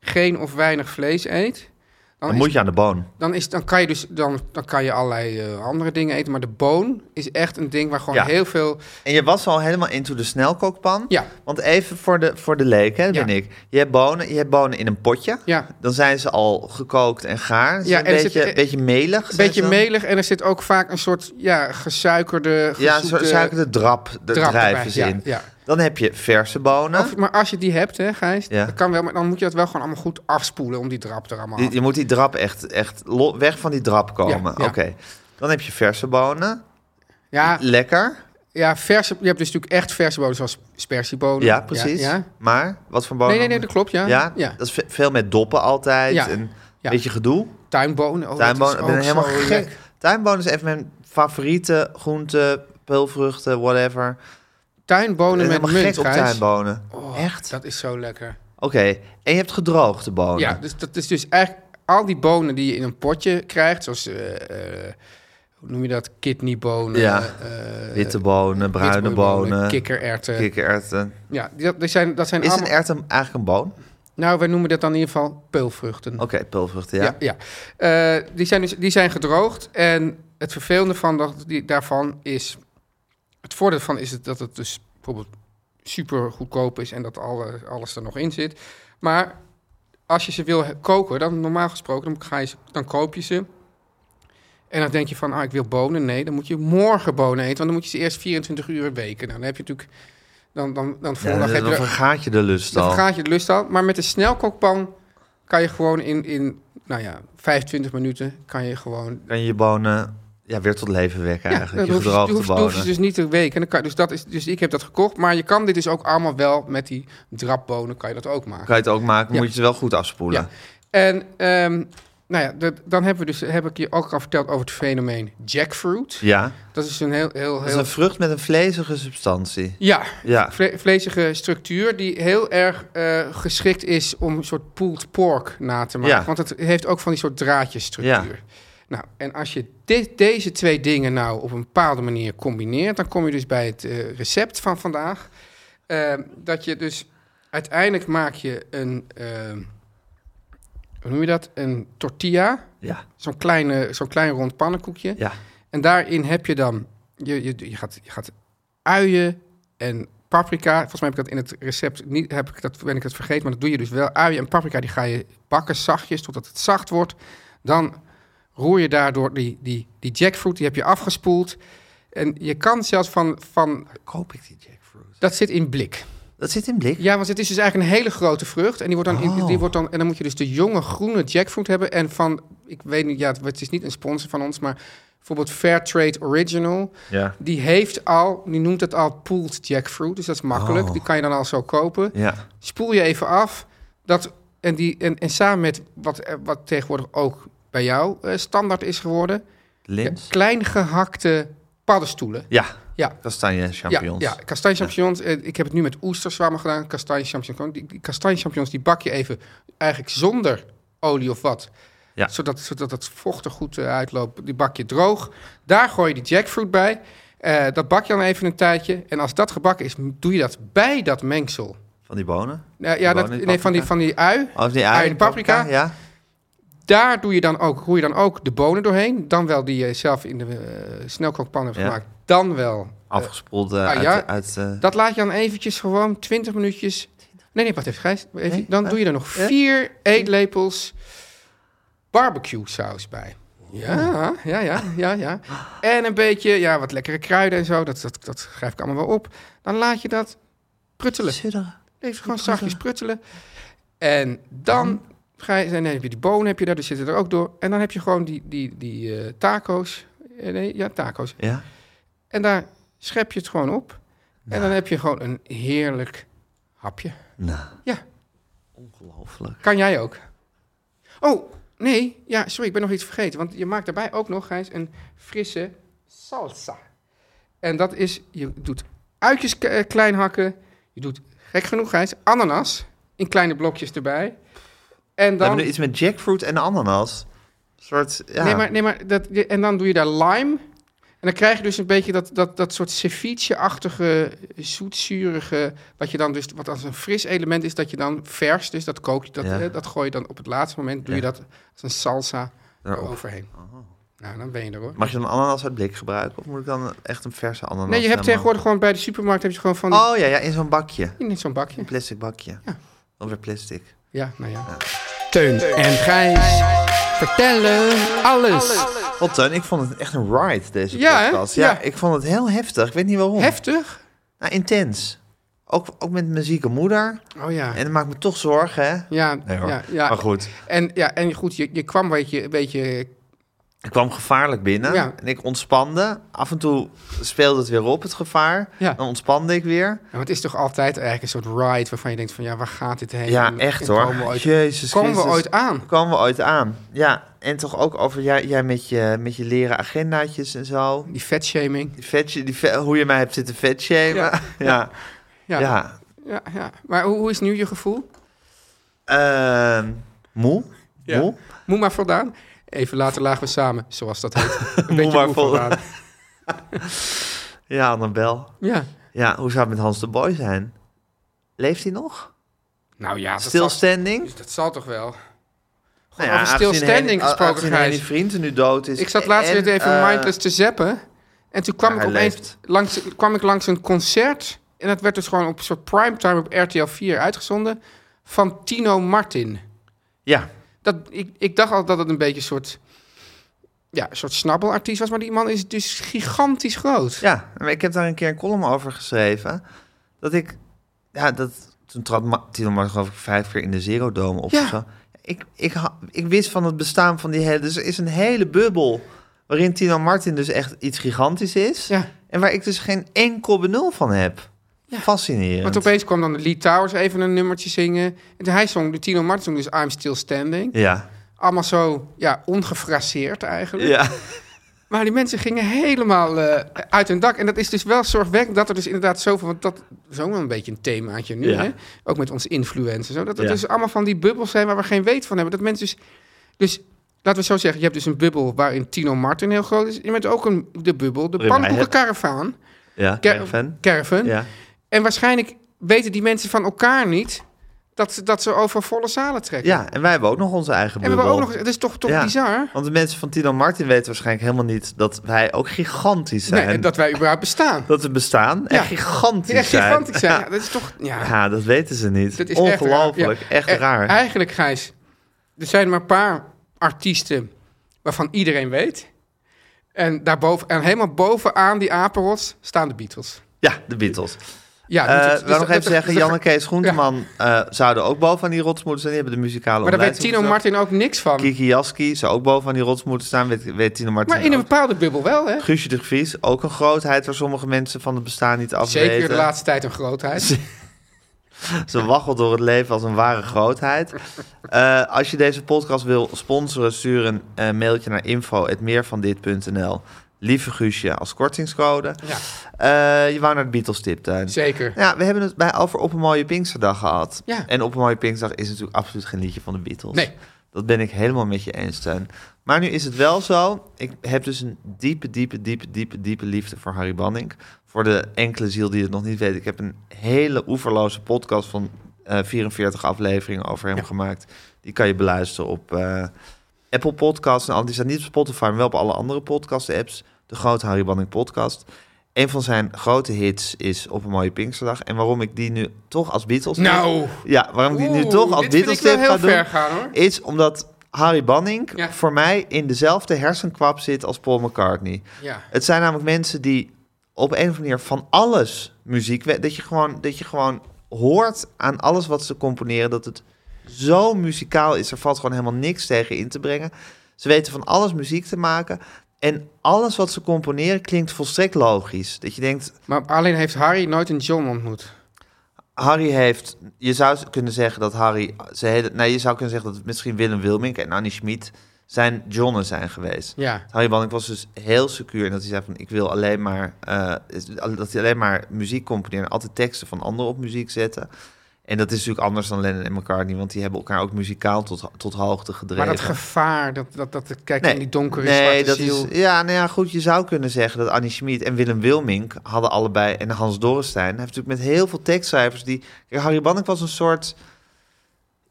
geen of weinig vlees eet. Dan,
Dan
is,
moet je aan de boon.
dan, is, dan kan je dus dan, dan kan je allerlei eh, andere dingen eten. Maar de boon is echt een ding waar gewoon
Ja.
heel veel.
En je was al helemaal into de snelkookpan.
Ja.
Want even voor de, voor de leek, hè, dat
Ja.
ben ik. Je hebt, bonen, je hebt bonen in een potje.
Ja.
Dan zijn ze al gekookt en gaar. Ze
Ja,
zijn
en
een
er
beetje,
zit-
beetje melig.
Een
zijn ze
beetje
dan.
melig. En er zit ook vaak een soort ja, gesuikerde.
Ja, zo
gezoete
zaken de drap, de
drap erbij.
drijven ze
Ja,
in.
ja.
Dan heb je verse bonen.
Of- maar als je die hebt, hè, Gijs,
Ja.
dat kan wel, maar dan moet je dat wel gewoon allemaal goed afspoelen om die drap er allemaal
Die- je moet die drap echt, echt lo- weg van die drap komen.
Ja,
Oké.
ja.
Dan heb je verse bonen.
af- Ja,
Lekker.
ja verse, je hebt dus natuurlijk echt verse bonen, zoals spersiebonen.
Ja, precies.
Ja, ja.
Maar wat voor bonen?
Nee, nee, nee, dat klopt, ja.
Ja,
ja.
dat is ve- veel met doppen altijd.
Ja.
En
Ja.
beetje gedoe.
Tuinbonen. Oh,
Tuinbonen, ik
dat
ben
is ook
helemaal
zo
gek.
lekker.
Tuinbonen is een van mijn favoriete groenten, peulvruchten, whatever. Ik ben
Tuinbonen met
helemaal gek
munt,
op
Gijs.
tuinbonen.
Oh,
Echt?
Dat is zo lekker.
Oké, en je hebt gedroogde bonen.
eh, Ja, dus dat is dus eigenlijk al die bonen die je in een potje krijgt, zoals, eh, eh, hoe noem je dat, kidneybonen,
Ja.
eh,
Witte bonen, bruine
witboeibonen,
bonen,
kikkererten.
kikkererwten.
ja, die, dat, die zijn, dat zijn
Is een
allemaal...
erwt een- eigenlijk een boon?
Nou, wij noemen dat dan in ieder geval peulvruchten.
Oké, peulvruchten, ja.
Ja, ja. Eh, die, zijn dus, die zijn gedroogd. En het vervelende van dat, die, daarvan is... Het voordeel van is het dat het dus bijvoorbeeld super goedkoop is... en dat alle, alles er nog in zit. Maar als je ze wil he- koken, dan normaal gesproken... dan, ga je ze, dan koop je ze. En dan denk je van, ah, ik wil bonen. Nee, dan moet je morgen bonen eten. Want dan moet je ze eerst 24 uur weken. Nou, dan heb je natuurlijk... Dan, dan, dan,
Ja,
volgende dag
dan
heb je er-
vergaat je de lust
dan
al.
vergaat je de lust al. Maar met de snelkookpan kan je gewoon in, in nou ja, 25 minuten kan je gewoon...
Kan je je bonen ja, weer tot leven wekken eigenlijk,
dan
je
hoef je,
gedroogde
hoef, hoef je
bonen.
dus niet te weken. En dan kan, dus, dat is, dus ik heb dat gekocht. Maar je kan dit dus ook allemaal wel met die drapbonen kan je dat ook maken.
Kan je het ook maken,
Ja.
moet je ze wel goed afspoelen.
Ja. En ehm, nou ja, dat, dan hebben we dus, heb ik je ook al verteld over het fenomeen jackfruit.
Ja,
Dat is een heel... heel,
dat is
heel
een vrucht met een vlezige substantie.
ja,
Ja,
vle- vlezige structuur die heel erg eh, geschikt is om een soort pulled pork na te maken.
Ja.
Want het heeft ook van die soort draadjesstructuur. Nou, en als je dit, deze twee dingen nou op een bepaalde manier combineert, dan kom je dus bij het eh, recept van vandaag. Eh, dat je dus uiteindelijk maak je een, eh, hoe noem je dat? Een tortilla,
ja,
zo'n kleine, zo'n klein rond pannenkoekje.
ja.
En daarin heb je dan, je, je, je, gaat, je gaat uien en paprika. Volgens mij heb ik dat in het recept niet, heb ik dat, ben ik het vergeten, maar dat doe je dus wel. Uien en paprika, die ga je bakken zachtjes totdat het zacht wordt. Dan roer je daardoor die, die, die jackfruit, die heb je afgespoeld. En je kan zelfs van, van,
Koop ik die jackfruit?
dat zit in blik.
Dat zit in blik.
Ja, want het is dus eigenlijk een hele grote vrucht. En die wordt dan,
Oh.
die wordt dan, en dan moet je dus de jonge groene jackfruit hebben. En van, ik weet niet, ja, het- het is niet een sponsor van ons, maar bijvoorbeeld Fairtrade Original.
Ja.
Die heeft al, die noemt het al pulled jackfruit. Dus dat is makkelijk.
Oh.
Die kan je dan al zo kopen.
Ja.
Spoel je even af. Dat, en, die, en, en samen met wat, eh, wat tegenwoordig ook bij jou eh, standaard is geworden.
Lins?
Klein gehakte paddenstoelen.
Ja,
Ja.
kastanje champignons.
Ja, ja kastanjechampignons. Eh, Ik heb het nu met oesterzwammen gedaan. Kastanjechampignons. Die, die kastanjechampignons die bak je even eigenlijk zonder olie of wat.
Ja.
Zodat, zodat het vocht er goed eh, uitloopt. Die bak je droog. Daar gooi je die jackfruit bij. Eh, dat bak je dan even een tijdje. En als dat gebakken is, m- doe je dat bij dat mengsel.
Van die bonen?
Nou ja,
Gewoon
dat,
in
nee, van, die,
paprika?
van die ui.
Of die
Ui
ui
en paprika. Eh,
Ja.
Daar doe je dan ook, roer je dan ook de bonen doorheen. Dan wel die je zelf in de eh, snelkookpan hebt
Ja.
gemaakt. Dan wel
Afgespoeld eh,
ah,
uit...
ja.
uit eh,
Dat laat je dan eventjes gewoon 20 minuutjes. Nee, nee, wacht even, Gijs. Even.
Nee,
dan
eh,
doe je er nog
eh?
vier eetlepels barbecue saus bij. Ja,
Oh.
ja, ja, ja, ja. En een beetje, ja, wat lekkere kruiden en zo. Dat, dat, dat schrijf ik allemaal wel op. Dan laat je dat pruttelen.
Zudderen.
Even gewoon zachtjes pruttelen. En dan ga je, dan heb je die bonen heb je daar, dus zitten er ook door. En dan heb je gewoon die, die, die eh, taco's. Eh, nee, ja, taco's.
Ja.
En daar schep je het gewoon op. En dan heb je gewoon een heerlijk hapje.
Nou.
Ja.
Ongelooflijk.
Kan jij ook? Oh, nee. Ja, sorry, ik ben nog iets vergeten. Want je maakt daarbij ook nog, Gijs, een frisse salsa. En dat is, je doet uitjes k- eh, klein hakken. Je doet, gek genoeg, Gijs, ananas in kleine blokjes erbij. En
We
dan...
hebben nu iets met jackfruit en ananas. Een soort, ja.
Nee, maar, nee, maar dat, en dan doe je daar lime. En dan krijg je dus een beetje dat, dat, dat soort ceviche-achtige, zoetzurige... Wat, je dan dus, wat als een fris element is, dat je dan vers... Dus dat kook je, dat,
Ja.
eh, dat gooi je dan op het laatste moment... doe je
Ja. Oh.
dat als een salsa
Daarop.
overheen. Nou, dan ben je er, hoor.
Mag je dan ananas uit blik gebruiken? Of moet ik dan echt een verse ananas
nee, je hebt
helemaal-
tegenwoordig gewoon bij de supermarkt... heb je gewoon van die-
nou Oh ja, ja in zo'n bakje.
in zo'n bakje.
Een plastic bakje.
Ja.
Dan weer plastic.
Ja, nou ja.
Teun
En
en
Gijs vertellen alles.
Wat Teun, ik vond het echt een ride deze
Ja, hè?
podcast. Ja,
Ja.
ik vond het heel heftig. Ik weet niet waarom.
Heftig?
Nou, intens. Ook, ook met mijn zieke moeder.
Oh ja.
En dat maakt me toch zorgen, hè?
Ja,
Nee, hoor.
ja, ja.
Maar goed,
En, ja, en goed, je, je kwam een beetje, een beetje
ik kwam gevaarlijk binnen
Ja.
en ik ontspande. Af en toe speelde het weer op, het gevaar.
Ja.
Dan ontspande ik weer.
Ja, maar het is toch altijd eigenlijk een soort ride waarvan je denkt van ja, waar gaat dit heen?
Ja,
En-
echt
en
hoor.
Komen we ooit,
Jezus
komen we
Christus.
ooit aan?
Komen we ooit aan. Ja, en toch ook over jij, jij met, je, met je leren agendaatjes en zo.
Die vetshaming.
Die vet, die vet- hoe je mij hebt zitten vetshamen.
Ja.
Ja. Ja.
Ja, ja. ja, Maar hoe, hoe is nu je gevoel?
Ehm, moe.
Ja.
Moe?
Moe maar voldaan. Even later lagen we samen, zoals dat heet. Een
Moe
beetje
maar
moe
voldaan.
voldaan.
Ja, Annabel.
Ja.
Ja, hoe zou het met Hans de Boy zijn? Leeft hij nog?
Nou ja, dat zal, Dus
Stilstanding?
dat zal toch wel.
Nou
over stilstanding gesproken, Gijs.
Gijs. vrienden nu dood is.
Ik zat laatst
Dus en,
weer even
eh,
mindless te zappen. En toen kwam,
ja,
ik
hij
opeens
leeft.
langs, kwam ik langs een concert. En dat werd dus gewoon op een soort primetime op RTL 4 uitgezonden. Van Tino Martin.
Ja,
Dat, ik, ik dacht al dat het een beetje een soort... Ja, een soort snabbelartiest was. Maar die man is dus gigantisch groot.
ja, maar ik heb daar een keer een column over geschreven. Dat ik, ja, dat toen trad Ma- Tino Martin geloof ik vijf keer in de Zero Dome op.
Ja.
of zo. Ik, ik, ha- ik wist van het bestaan van die hele, dus er is een hele bubbel waarin Tino Martin dus echt iets gigantisch is.
Ja.
En waar ik dus geen enkel benul van heb.
Want
Fascinerend.
opeens kwam dan Lee Towers even een nummertje zingen. En hij zong, de Tino Martin zong dus I'm Still Standing.
Ja,
Allemaal zo, ja, ongefraseerd eigenlijk.
ja.
Maar die mensen gingen helemaal eh, uit hun dak. En dat is dus wel zorgwekkend dat er dus inderdaad zoveel... Want dat is ook wel een beetje een themaatje nu,
Ja.
hè? Ook met ons influence en zo. Dat het
Ja.
dus allemaal van die bubbels zijn waar we geen weet van hebben. Dat mensen dus... Dus laten we zo zeggen, je hebt dus een bubbel waarin Tino Martin heel groot is. Je bent ook een, de bubbel, de
Wim Heijden.
pannenkoekenkaravaan.
Ja,
Ker-
caravan.
Caravan.
Ja.
En waarschijnlijk weten die mensen van elkaar niet... dat ze, dat ze over volle zalen trekken.
ja, en wij hebben ook nog onze eigen
En we
bubbel.
hebben ook nog... Het is toch, toch
Ja.
bizar?
Want de mensen van Tino Martin weten waarschijnlijk helemaal niet dat wij ook gigantisch
Nee,
zijn.
en dat wij überhaupt bestaan.
Dat we bestaan
Ja.
en gigantisch
Die echt
zijn.
gigantisch zijn. Ja,
Ja.
dat is toch... Ja,
Ja, dat weten ze niet.
dat is echt raar.
Ongelooflijk,
Ja.
echt
E-
raar.
Eigenlijk, Gijs, er zijn maar een paar artiesten waarvan iedereen weet. En, daarboven, en helemaal bovenaan die apenrots staan de Beatles.
Ja, de Beatles.
Ja,
Eh
dat-
we
dus
nog
dat-
even
dat-
zeggen,
dat-
Jan en Kees Groenteman eh, zouden ook bovenaan die rots moeten staan. Die hebben de muzikale
Maar daar weet
omlijsting
Tino
gezet.
Martin ook niks van.
Kiki Jaski zou ook bovenaan die rots moeten staan, weet, weet Tino Martin
maar in een
ook.
bepaalde bubbel wel, hè?
Guusje de Vries, ook een grootheid waar sommige mensen van het bestaan niet af
Zeker
weten.
de laatste tijd een grootheid.
Ze waggelt door het leven als een ware grootheid. Eh, als je deze podcast wil sponsoren, stuur een eh, mailtje naar info.meervandit.nl. Lieve Guusje als kortingscode.
Ja,
Eh, je wou naar de Beatles tiptuin.
zeker.
Ja, we hebben het bij over Op een Mooie Pinksterdag gehad.
Ja.
En Op een Mooie Pinksterdag is natuurlijk absoluut geen liedje van de Beatles.
Nee.
Dat ben ik helemaal met je eens, Teun. Maar nu is het wel zo. Ik heb dus een diepe, diepe, diepe, diepe, diepe liefde voor Harry Banning. Voor de enkele ziel die het nog niet weet. Ik heb een hele oeverloze podcast van eh, 44 afleveringen over hem gemaakt. Die kan je beluisteren op eh, Apple Podcasts. En al- die staat niet op Spotify, maar wel op alle andere podcast-apps. De grote Harry Banning podcast. Een van zijn grote hits is Op een mooie Pinksterdag. En waarom ik die nu toch als Beatles...
Nou,
Ja, waarom ik die nu
Oeh,
toch als
dit vind
Beatles
ik wel
tip ga
heel
doen
ver gaan, hoor.
is omdat Harry Banning
Ja.
voor mij in dezelfde hersenkwap zit als Paul McCartney.
Ja.
Het zijn namelijk mensen die op een of andere manier van alles muziek... we- Dat je gewoon, dat je gewoon hoort aan alles wat ze componeren... dat het zo muzikaal is. Er valt gewoon helemaal niks tegen in te brengen. Ze weten van alles muziek te maken... En alles wat ze componeren klinkt volstrekt logisch. Dat je denkt,
Maar alleen heeft Harry nooit een John ontmoet.
Harry heeft, je zou kunnen zeggen dat Harry, ze hele, nee, je zou kunnen zeggen dat misschien Willem Wilmink en Annie Schmid zijn Johnnen zijn geweest.
Ja.
Harry Banning was dus heel secuur en dat hij zei van ik wil alleen maar, eh, is- dat hij alleen maar muziek componeren, en altijd teksten van anderen op muziek zetten. En dat is natuurlijk anders dan Lennon en McCartney, want die hebben elkaar ook muzikaal tot, tot hoogte gedreven.
Maar dat gevaar, dat, dat, dat, dat kijk in die donkere zwarte
dat
ziel.
Is, ja, nou ja, goed, je zou kunnen zeggen dat Annie Schmid en Willem Wilmink hadden allebei... en Hans Dorrestein, heeft natuurlijk met heel veel tekstschrijvers die... Kijk, Harry Bannek was een soort,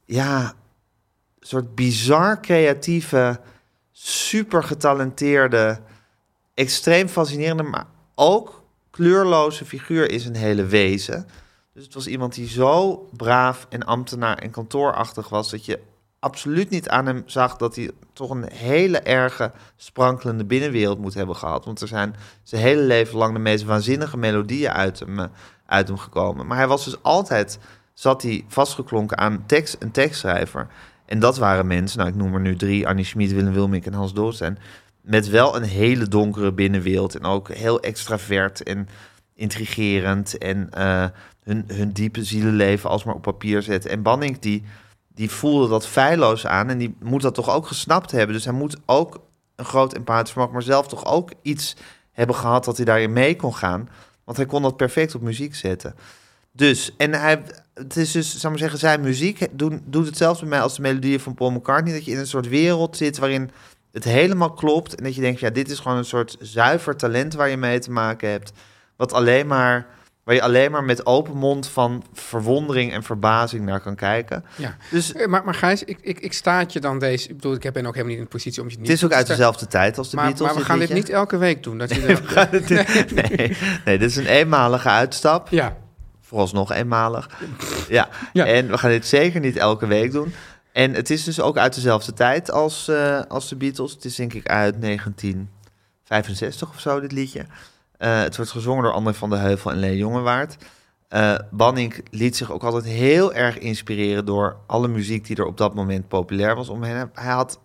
ja, soort bizar creatieve, super getalenteerde... extreem fascinerende, maar ook kleurloze figuur is een hele wezen. Dus het was iemand die zo braaf en ambtenaar en kantoorachtig was... dat je absoluut niet aan hem zag dat hij toch een hele erge sprankelende binnenwereld moet hebben gehad. Want er zijn zijn hele leven lang de meest waanzinnige melodieën uit hem, eh, uit hem gekomen. Maar hij was dus altijd, zat hij vastgeklonken aan tekst, een tekstschrijver. En dat waren mensen, nou ik noem er nu drie, Annie Schmid, Willem Wilmink en Hans Doorstein. Met wel een hele donkere binnenwereld en ook heel extravert en intrigerend. En eh, hun, hun diepe zielenleven alsmaar op papier zetten. En Banning die die voelde dat feilloos aan en die moet dat toch ook gesnapt hebben. Dus hij moet ook een groot empathisch vermogen, maar zelf toch ook iets hebben gehad dat hij daarin mee kon gaan. Want hij kon dat perfect op muziek zetten. Dus, en hij, het is dus, zou ik maar zeggen, zijn muziek doen, doet het zelfs bij mij als de melodieën van Paul McCartney. Dat je in een soort wereld zit waarin het helemaal klopt. En dat je denkt, ja, dit is gewoon een soort zuiver talent waar je mee te maken hebt. Wat alleen maar, waar je alleen maar met open mond van verwondering en verbazing naar kan kijken.
Ja.
Dus
Eh, Maar, maar Gijs, ik, ik, ik staat je dan deze... Ik bedoel, ik ben ook helemaal niet in de positie om je niet
het is ook
te
uit
staan.
dezelfde tijd als de
maar,
Beatles.
maar we gaan dit
liedje.
niet elke week doen. Dat je dan- ja.
nee, nee, dit is een eenmalige uitstap.
Ja.
vooralsnog eenmalig. Ja.
Ja.
en we gaan dit zeker niet elke week doen. En het is dus ook uit dezelfde tijd als, eh, als de Beatles. Het is denk ik uit 1965 of zo, dit liedje. Eh, het wordt gezongen door André van der Heuvel en Lee Jongewaard. Eh Banning liet zich ook altijd heel erg inspireren door alle muziek die er op dat moment populair was om hem. Hij had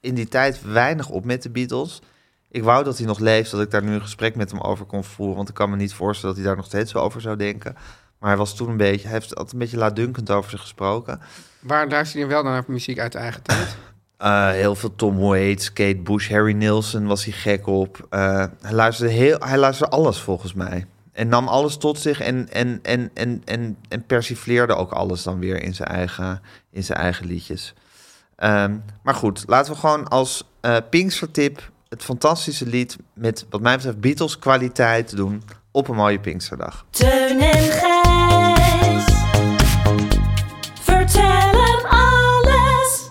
in die tijd weinig op met de Beatles. Ik wou dat hij nog leeft, dat ik daar nu een gesprek met hem over kon voeren. Want ik kan me niet voorstellen dat hij daar nog steeds zo over zou denken. Maar hij was toen een beetje, hij heeft altijd een beetje laatdunkend over zich gesproken.
Waar luister je wel naar muziek uit de eigen tijd?
Eh, heel veel Tom Waits, Kate Bush, Harry Nilsson was hij gek op. Eh, hij, luisterde heel, hij luisterde alles volgens mij. En nam alles tot zich en, en, en, en, en, en persifleerde ook alles dan weer in zijn eigen, in zijn eigen liedjes. Ehm, maar goed, laten we gewoon als eh Pinkstertip het fantastische lied met wat mij betreft Beatles kwaliteit doen op een mooie Pinksterdag.
Teun en Gijs. Vertel hem alles.